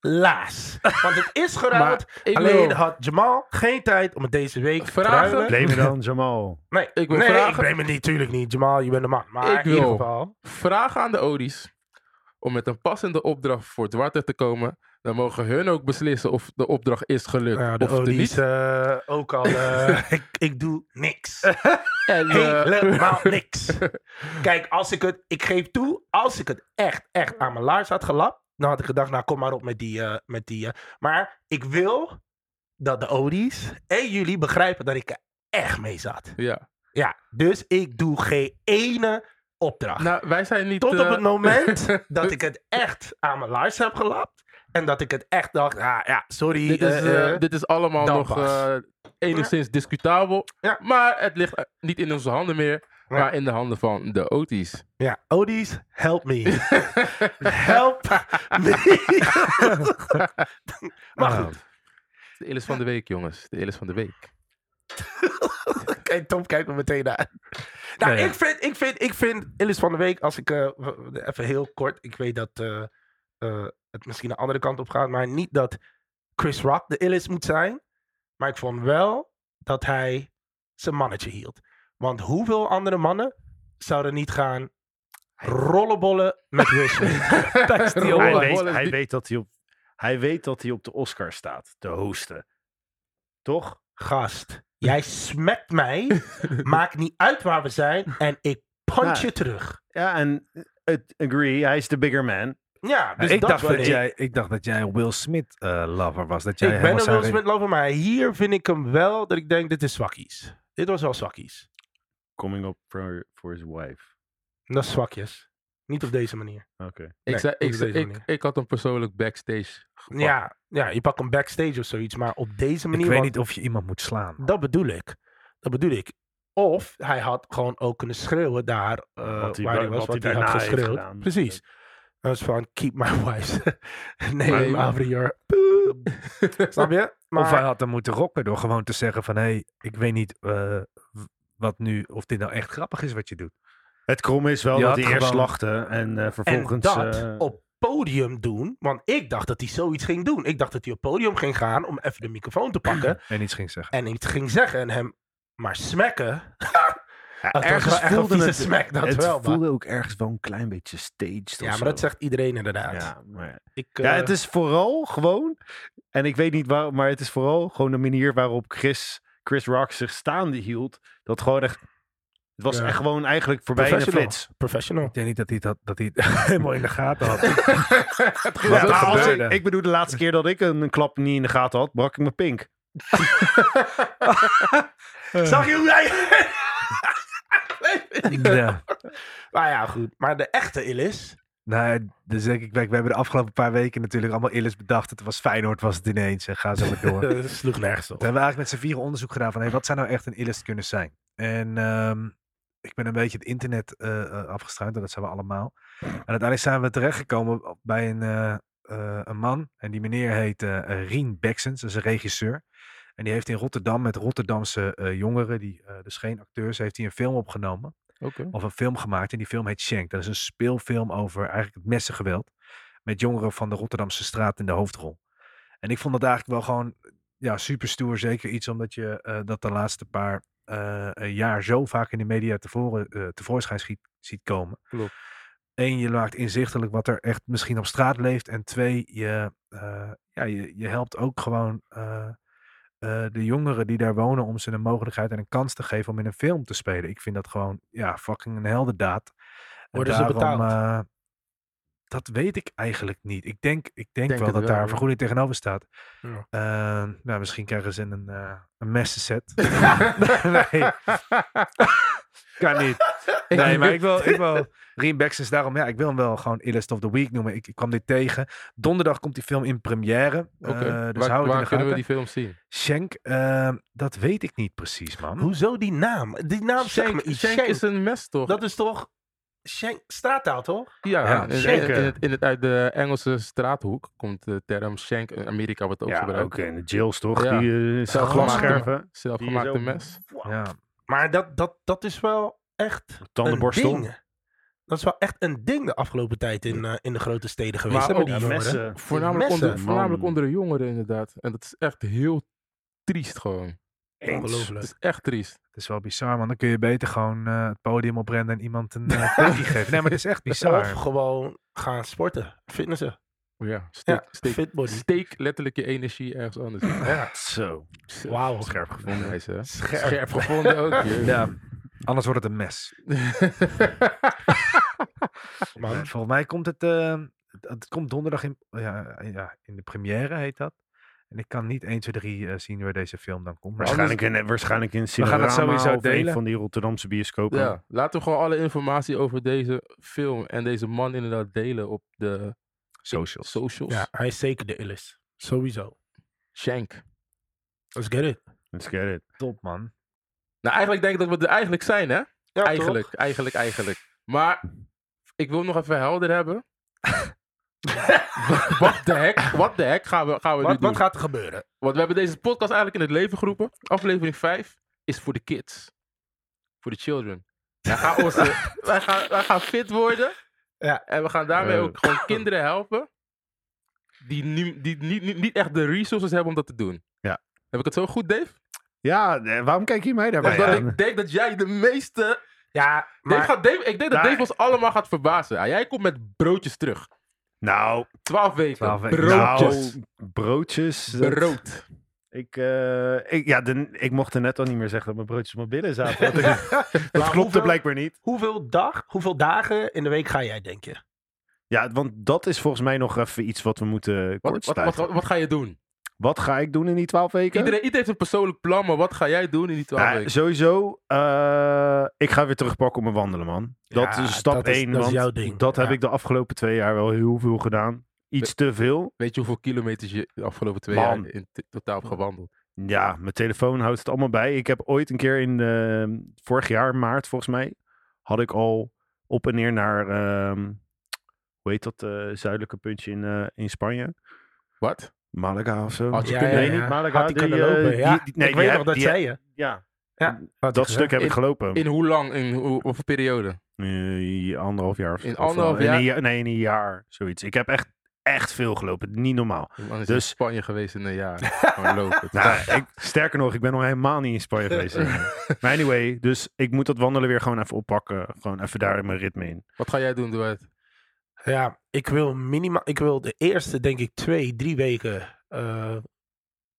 Helaas. Want het is geruild. Maar ik Alleen wil, had Jamal geen tijd om het deze week Vragen? te ruilen. Blame dan Jamal. Nee, Ik wil nee, vragen- ik blame het niet, tuurlijk niet. Jamal, je bent de man. Maar Ik in ieder wil- geval... vragen aan de Odies om met een passende opdracht voor Dwarte te komen. Dan mogen hun ook beslissen of de opdracht is gelukt Nou Ja, de of de Odies niet. eh, ook al. eh, ik, ik doe niks. En, eh, Helemaal niks. Kijk, als ik het, ik geef toe, als ik het echt, echt aan mijn laars had gelapt, dan had ik gedacht, nou kom maar op met die. eh, met die eh. maar ik wil dat de Odies en jullie begrijpen dat ik er echt mee zat. ja. Ja, dus ik doe geen ene opdracht. Nou, wij zijn niet... Tot op eh, het moment dat ik het echt aan mijn laars heb gelapt. En dat ik het echt dacht, ah, ja, sorry. Dit is, eh, eh, eh, dit is allemaal dan nog pas. eh, enigszins discutabel. Ja. Maar het ligt eh, niet in onze handen meer, Ja. maar in de handen van de Otis. ja, Odies, help me. help me. Nou. maar Ah. goed, De Illis van de Week, jongens. De Illis van de Week. Kijk, Tom kijkt me meteen naar. Nou, Ja, ja. ik vind, ik vind, ik vind, Illis van de Week, als ik, eh, w- even heel kort, ik weet dat eh, eh, het misschien de andere kant op gaat, maar niet dat Chris Rock de Illis moet zijn, maar ik vond wel dat hij zijn mannetje hield. Want hoeveel andere mannen zouden niet gaan rollenbollen met Will Smith? Dat is die Hij Roland jongen. weet, Wallace hij, die- weet dat hij, op, hij weet dat hij op de Oscar staat, de hosten. Toch? Gast, jij smekt mij, maakt niet uit waar we zijn en ik punch Ja. je terug. Ja, en eh, agree, hij is de bigger man. Ja, dus ik, dat dacht wel- dat ik- jij, ik dacht dat jij een Will Smith eh, lover was. Dat jij ik ben helemaal een Will zou- Smith lover, maar hier vind ik hem wel dat ik denk, dit is zwakkies. Dit was wel zwakkies. Coming up for, for his wife. Dat is zwakjes. Niet op deze manier. Oké. Ik, Nee, zei, op ik, zei- deze ik, manier. ik had hem persoonlijk backstage gepakt. Ja, ja, je pakt hem backstage of zoiets, maar op deze Ik manier... weet want niet of je iemand moet slaan. Dat bedoel ik. Dat bedoel ik. Of hij had gewoon ook kunnen schreeuwen daar eh, Wat hij- waar hij wat was, hij wat hij had daarna heeft geschreeuwd. gedaan. Precies. Dat is van, keep my wife. nee, Maar- I'm out of your... Snap je? Of hij had hem moeten rocken door gewoon te zeggen van... hé, hey, ik weet niet eh, w- wat nu, of dit nou echt grappig is wat je doet. Het krom is wel Je dat had hij eerst gewoon- lachte en eh, vervolgens... En dat eh, op podium doen. Want ik dacht dat hij zoiets ging doen. Ik dacht dat hij op podium ging gaan om even de microfoon te pakken. En iets ging zeggen. en iets ging zeggen en hem maar smekken. ja, Dat was wel echt een vieze smack, dat het wel. maar- voelde ook ergens wel een klein beetje staged of Ja, maar zo. dat zegt iedereen inderdaad. Ja, maar ja. Ik, ja, eh, het is vooral gewoon... En ik weet niet waarom, maar het is vooral gewoon de manier waarop Chris, Chris Rock zich staande hield. Dat gewoon echt... Het was Ja. echt gewoon eigenlijk voorbij in de Professional. flits. professional. Ik denk niet dat hij, dat, dat hij het helemaal in de gaten had. Ja, Wat maar als ik, gebeurde? ik bedoel, de laatste keer dat ik een, een klap niet in de gaten had, brak ik mijn pink. Eh. Zag je hoe hij... ja. maar ja, goed. Maar de echte Illis... Nou, dus denk ik, kijk, we hebben de afgelopen paar weken natuurlijk allemaal illes bedacht. Het was Feyenoord, was het ineens. En ga zo maar door. eh, sloeg nergens op. We hebben eigenlijk met z'n vieren onderzoek gedaan van hey, wat zou nou echt een illust kunnen zijn. En ehm, ik ben een beetje het internet eh eh, afgestruind, en dat zijn we allemaal. En uiteindelijk zijn we terechtgekomen op- bij een, eh, eh, een man. En die meneer heet eh Rien Beksens, dat is een regisseur. En die heeft in Rotterdam met Rotterdamse eh, jongeren, die, eh, dus geen acteurs, heeft hij een film opgenomen Oké. of een film gemaakt. En die film heet Shank. Dat is een speelfilm over eigenlijk het messengeweld. Met jongeren van de Rotterdamse straat in de hoofdrol. En ik vond dat eigenlijk wel gewoon ja, super stoer. Zeker iets omdat je eh, dat de laatste paar eh, eh, jaar zo vaak in de media tevoren, eh, tevoorschijn schiet, ziet komen. Klopt. Eén, je maakt inzichtelijk wat er echt misschien op straat leeft. En twee, je, eh, ja, je, je helpt ook gewoon eh, eh, de jongeren die daar wonen om ze een mogelijkheid en een kans te geven om in een film te spelen. Ik vind dat gewoon, ja, fucking een heldendaad. En Worden ze betaald? eh, dat weet ik eigenlijk niet. Ik denk, ik denk, Denk wel het dat wel, daar hoor. een vergoeding tegenover staat. Ja. Eh, nou, misschien krijgen ze een, eh een messenset. nee, kan niet. Nee, maar ik wil, ik wil Rien Bexens daarom, ja, ik wil hem wel gewoon Illest of the Week noemen. Ik, ik kwam dit tegen. Donderdag komt die film in première. Eh, Oké. dus waar hou het in waar de kunnen we gaten. die film zien? Schenk, eh, dat weet ik niet precies, man. Hoezo die naam? Die naam zegt me Shank, iets. Shank Shank. is een mes, toch? Dat is toch... Shank, straattaal toch? ja, Ja, in- in, Shank, in eh. het, in het, uit de Engelse straathoek komt de term Shank. In Amerika wordt het ook Ja, gebruikt. ook in de jails toch, Ja. die eh, Zelfgemaakte- glasscherven. Zelfgemaakte Die is ook- mes. Ja. Maar dat, dat, dat is wel echt... Tandenborstel. Een ding. Dat is wel echt een ding de afgelopen tijd in, eh, in de grote steden geweest. Maar hè, ook met die jongeren. messen. Voornamelijk, messen, onder, voornamelijk man. onder de jongeren, inderdaad. En dat is echt heel triest gewoon. Eens. Het Ongelooflijk. is echt triest. Het is wel bizar, man. Dan kun je beter gewoon eh, het podium oprennen en iemand een eh, tikkie geven. Nee, maar het is echt Of bizar. gewoon gaan sporten. Fitnessen. Ja, steek, Ja, steek, fitbody. steek letterlijk je energie ergens anders. in. Zo, Wauw. scherp gevonden. Nice, hè? Scherp. Scherp gevonden ook. joh. Ja. Anders wordt het een mes. Man. Eh, Volgens mij komt het, eh, het, het komt donderdag in, ja, ja, in de première, heet dat. En ik kan niet 1, 2, 3 eh, zien waar deze film dan komt. Maar Waarschijnlijk in, eh, waarschijnlijk gaan in het Cinerama sowieso of een delen. van die Rotterdamse bioscopen. ja, laten we gewoon alle informatie over deze film en deze man inderdaad delen op de Socials. Socials. Ja, hij is zeker de illest. Sowieso. Shank. Let's get it. Let's get it. Top, man. Nou, eigenlijk denk ik dat we er eigenlijk zijn, hè? Ja, eigenlijk, eigenlijk, eigenlijk. Maar ik wil nog even helder hebben. wat de hek? Wat de hek gaan we, gaan we nu Wat, doen? wat gaat er gebeuren? Want we hebben deze podcast eigenlijk in het leven geroepen. Aflevering 5 is voor de kids. Voor de children. Wij gaan, onze, wij gaan, wij gaan fit worden. Ja. En we gaan daarmee Eh. ook gewoon kinderen helpen. Die, nu, die niet, niet, niet echt de resources hebben om dat te doen. Ja. Heb ik het zo goed, Dave? Ja, eh, waarom kijk je mij daarbij Omdat aan? ik denk dat jij de meeste Ja, Dave maar... gaat Dave- ik denk dat Daar- Dave ons allemaal gaat verbazen. Ah, jij komt met broodjes terug. Nou, Twaalf weken. Twaalf weken. Broodjes. nou, broodjes. dat- Brood. Ik, eh, ik, ja, de- ik mocht er net al niet meer zeggen dat mijn broodjes op mijn billen zaten. want ik- dat Maar klopte hoeveel- blijkbaar niet. Hoeveel, dag, hoeveel dagen in de week ga jij, denk je? Ja, want dat is volgens mij nog even iets wat we moeten Wat, wat, kortsluiten. wat, Wat, wat, wat ga je doen? ga ik doen in die twaalf weken? Iedereen, iedereen heeft een persoonlijk plan, maar wat ga jij doen in die twaalf Nou, weken? sowieso, eh, ik ga weer terugpakken op mijn wandelen, man. Dat Ja, is stap dat is- één, dat is want jouw ding. dat heb Ja. ik de afgelopen twee jaar wel heel veel gedaan. Iets te veel. Weet je hoeveel kilometers je de afgelopen twee Man. jaar in t- totaal hebt gewandeld? Ja, mijn telefoon houdt het allemaal bij. Ik heb ooit een keer in ehm, vorig jaar, maart volgens mij, had ik al op en neer naar, ehm, hoe heet dat, eh, zuidelijke puntje in, eh, in Spanje? Wat? Malaga of zo? Had je Ja, kunnen- nee, ja, ja. niet Malaga. Had die kunnen eh, lopen, ja. nee, ik die weet heb- nog, dat die zei je. Ja, Had dat ik stuk heb ik In- gelopen. In hoe lang? In hoe, of een periode? Eh, anderhalf jaar. Of, In of- anderhalf in jaar? een nee, in een jaar. Zoiets. Ik heb echt, echt veel gelopen. Niet normaal. Man is in Dus- Spanje geweest in een jaar. Gewoon lopen. Nou, ik, sterker nog, ik ben nog helemaal niet in Spanje geweest. maar anyway, dus ik moet dat wandelen weer gewoon even oppakken. Gewoon even daar in mijn ritme in. Wat ga jij doen, Dwight? Ja, ik wil minimaal. Ik wil de eerste, denk ik, twee, drie weken eh,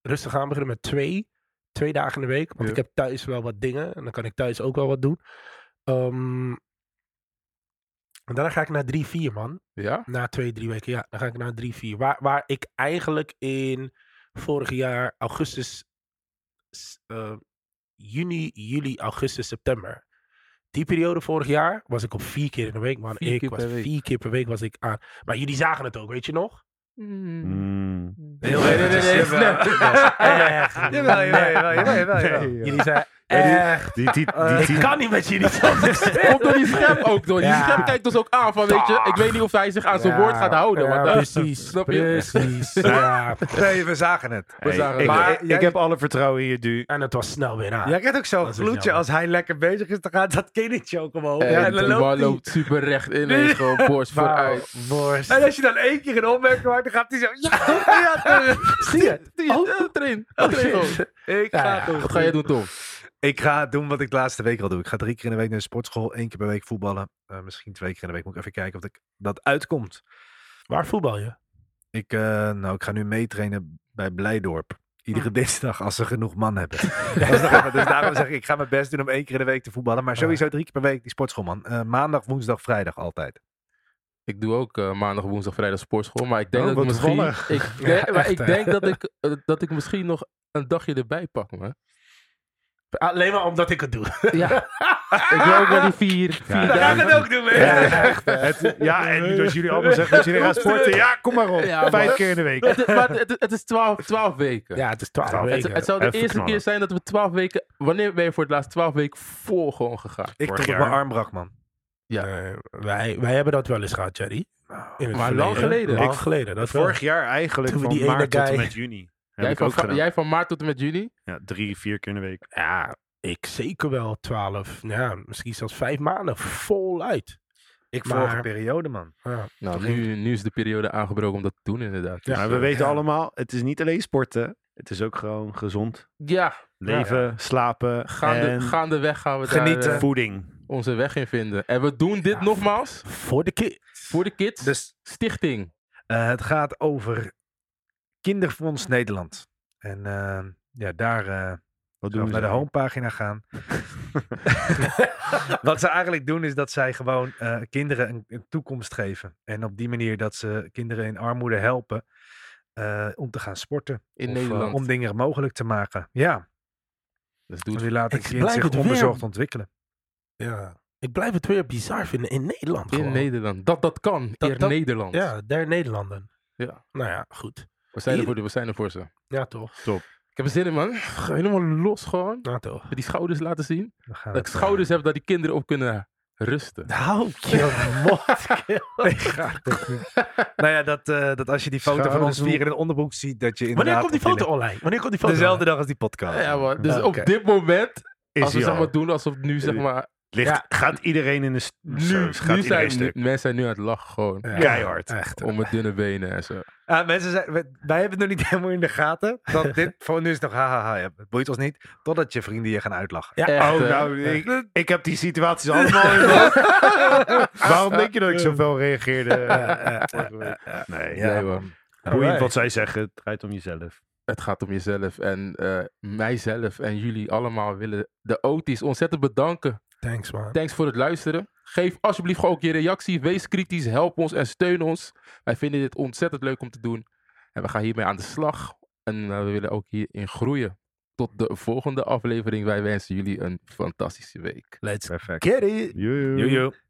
rustig aan beginnen met twee. Twee dagen in de week. Want Ja. ik heb thuis wel wat dingen. En dan kan ik thuis ook wel wat doen. Ehm, en daarna ga ik naar drie, vier, man. Ja? Na twee, drie weken. Ja, dan ga ik naar drie, vier. Waar, waar ik eigenlijk in vorig jaar augustus, s- eh, juni, juli, augustus, september. Die periode vorig jaar was ik op vier keer in de week, man. Vier ik keer was per week. vier keer per week was ik aan. Maar jullie zagen het ook, weet je nog? Mm. Nee, nee, nee, nee, nee. Echt. Jawel, jawel, jawel, jawel, jawel, jawel. Nee, joh. Jullie zeiden Ja, echt. eh, Die, die, die, Ik die- kan niet met jullie zo. Komt door die scherm ook door. Die Ja. scherm kijkt ons ook aan van, weet je, ik weet niet of hij zich aan zijn Ja, woord gaat houden. ja, want, eh, precies, snap je? precies. Ja. Nee, we zagen het. Hey, zagen ik, het. Maar ik- ik jij- heb alle vertrouwen in je, Du. En het was snel weer aan. Jij krijgt ook zo'n Dat is gloedje jammer. als hij lekker bezig is. Dan gaat dat kindertje ook Oh, omhoog. En, en dan loopt hij. loopt super recht in en gewoon borst Wauw, vooruit. worst. En als je dan één keer een opmerking maakt, dan gaat hij zo... Ja, ja, terug. Zie je? Die eh, train. Dat train gewoon. Ik Ja, ga ja. toch. Wat ga jij doen, Tom? Ik ga doen wat ik de laatste week al doe. Ik ga drie keer in de week naar de sportschool. één keer per week voetballen. Eh, misschien twee keer in de week. Moet ik even kijken of ik, dat uitkomt. Waar voetbal je? Ik, eh, nou, ik ga nu meetrainen bij Blijdorp. Iedere dinsdag als ze genoeg man hebben. Dat is nog even- dus daarom zeg ik, ik ga mijn best doen om één keer in de week te voetballen. Maar sowieso drie keer per week die sportschool, man. Eh, maandag, woensdag, vrijdag altijd. Ik doe ook eh, maandag, woensdag, vrijdag sportschool. Maar ik denk Oh, dat ik misschien... wat toevallig. Ik denk, Ja, maar echt, ik hè? denk dat ik, eh, dat ik misschien nog een dagje erbij pak, man. Alleen maar omdat ik het doe. Ja. ik wil ook wel die vier, vier Dan ga ik dagen. het ook doen, man. Het- ja, en als jullie allemaal zeggen dat jullie gaan sporten. Ja, kom maar op. Ja, man. Vijf keer in de week. Het, maar het, het is twaalf, twaalf weken. Ja, het is 12 Twaalf. Het, weken. het zou de Even eerste knallen. keer zijn dat we twaalf weken... Wanneer ben je voor het laatst twaalf weken vol gewoon gegaan? Ik Vorig tot op jaar. mijn arm brak, man. Eh, wij, wij hebben dat wel eens gehad, Jerry. In het Maar lang geleden. Lang Ik- geleden, dat Vorig jaar eigenlijk, Toen we van die ene maart tot en guy- met juni. Heb Jij ik van, ook va- gedaan. jij van maart tot en met juni? Ja, drie, vier keer in de week. wel. Ja, ik zeker wel 12. Ja, misschien zelfs vijf maanden voluit. Ik Maar- vorige periode, man. Ja. Nou, nu, nu is de periode aangebroken om dat te doen, inderdaad. Ja. maar we weten Ja. allemaal, het is niet alleen sporten. Het is ook gewoon gezond. Ja, Leven, slapen gaande, en gaandeweg gaan we Genieten. daar eh, voeding. onze weg in vinden. En we doen dit Ja. nogmaals Voor de kids. voor de kids. Dus Stichting. Eh, het gaat over Kinderfonds Nederland. En eh, ja, daar eh Wat doen zullen we we naar de home? homepagina gaan. Wat ze eigenlijk doen is dat zij gewoon eh, kinderen een, een toekomst geven. En op die manier dat ze kinderen in armoede helpen eh, om te gaan sporten. In Of, eh, Nederland. om dingen mogelijk te maken. Ja, Dus doe want het. die laten Ik kind blijf zich het weer- onbezorgd ontwikkelen. Ja. Ik blijf het weer bizar vinden in Nederland. In gewoon. Nederland. Dat dat kan. Dat- in dat- Nederland. Ja, der Nederlanden. Ja. Nou ja, goed. We, zijn er Hier. voor, de- we zijn er voor ze. Ja, toch? Ik heb er zin in, man. Helemaal los gewoon. Ja, toch? Met die schouders laten zien. We gaan Dat ik schouders heb dat die kinderen op kunnen rusten. Nou, je eh, nou ja, dat, eh, dat als je die foto van ons Schouders vier in een onderbroek ziet, dat je inderdaad... Wanneer komt die op foto online? Wanneer komt die foto Dezelfde dag als die podcast. Ja, man. Dus Ja, oké. op dit moment, Is als we hij zeg al. maar doen alsof nu zeg maar... Ligt, Ja. Gaat iedereen in de... st- Nu, Zo, nu gaat iedereen zijn nu- stuk. mensen zijn nu aan het lachen gewoon. online? Ja. Keihard. Echt. Om mijn dunne benen en zo. Ah, mensen zijn, we- wij hebben het nog niet helemaal in de gaten. Dat dit, voor nu is het nog hahaha, ja, het boeit ons niet. Totdat je vrienden je gaan uitlachen. Ja. Echt, Oh, eh, nou, ik, ik heb die situaties allemaal in mijn hoofd. Waarom denk je dat ik zoveel reageerde? vorige week? Nee, nee, man. boeiend wat zij zeggen. Het draait om jezelf. Het gaat om jezelf en eh, mijzelf en jullie allemaal willen de Otis ontzettend bedanken. Thanks, man. Thanks voor het luisteren. Geef alsjeblieft gewoon ook je reactie. Wees kritisch, help ons en steun ons. Wij vinden dit ontzettend leuk om te doen. En we gaan hiermee aan de slag. En eh, we willen ook hierin groeien. Tot de volgende aflevering. Wij wensen jullie een fantastische week. Let's Perfect. get it. Joe. Joe, joe.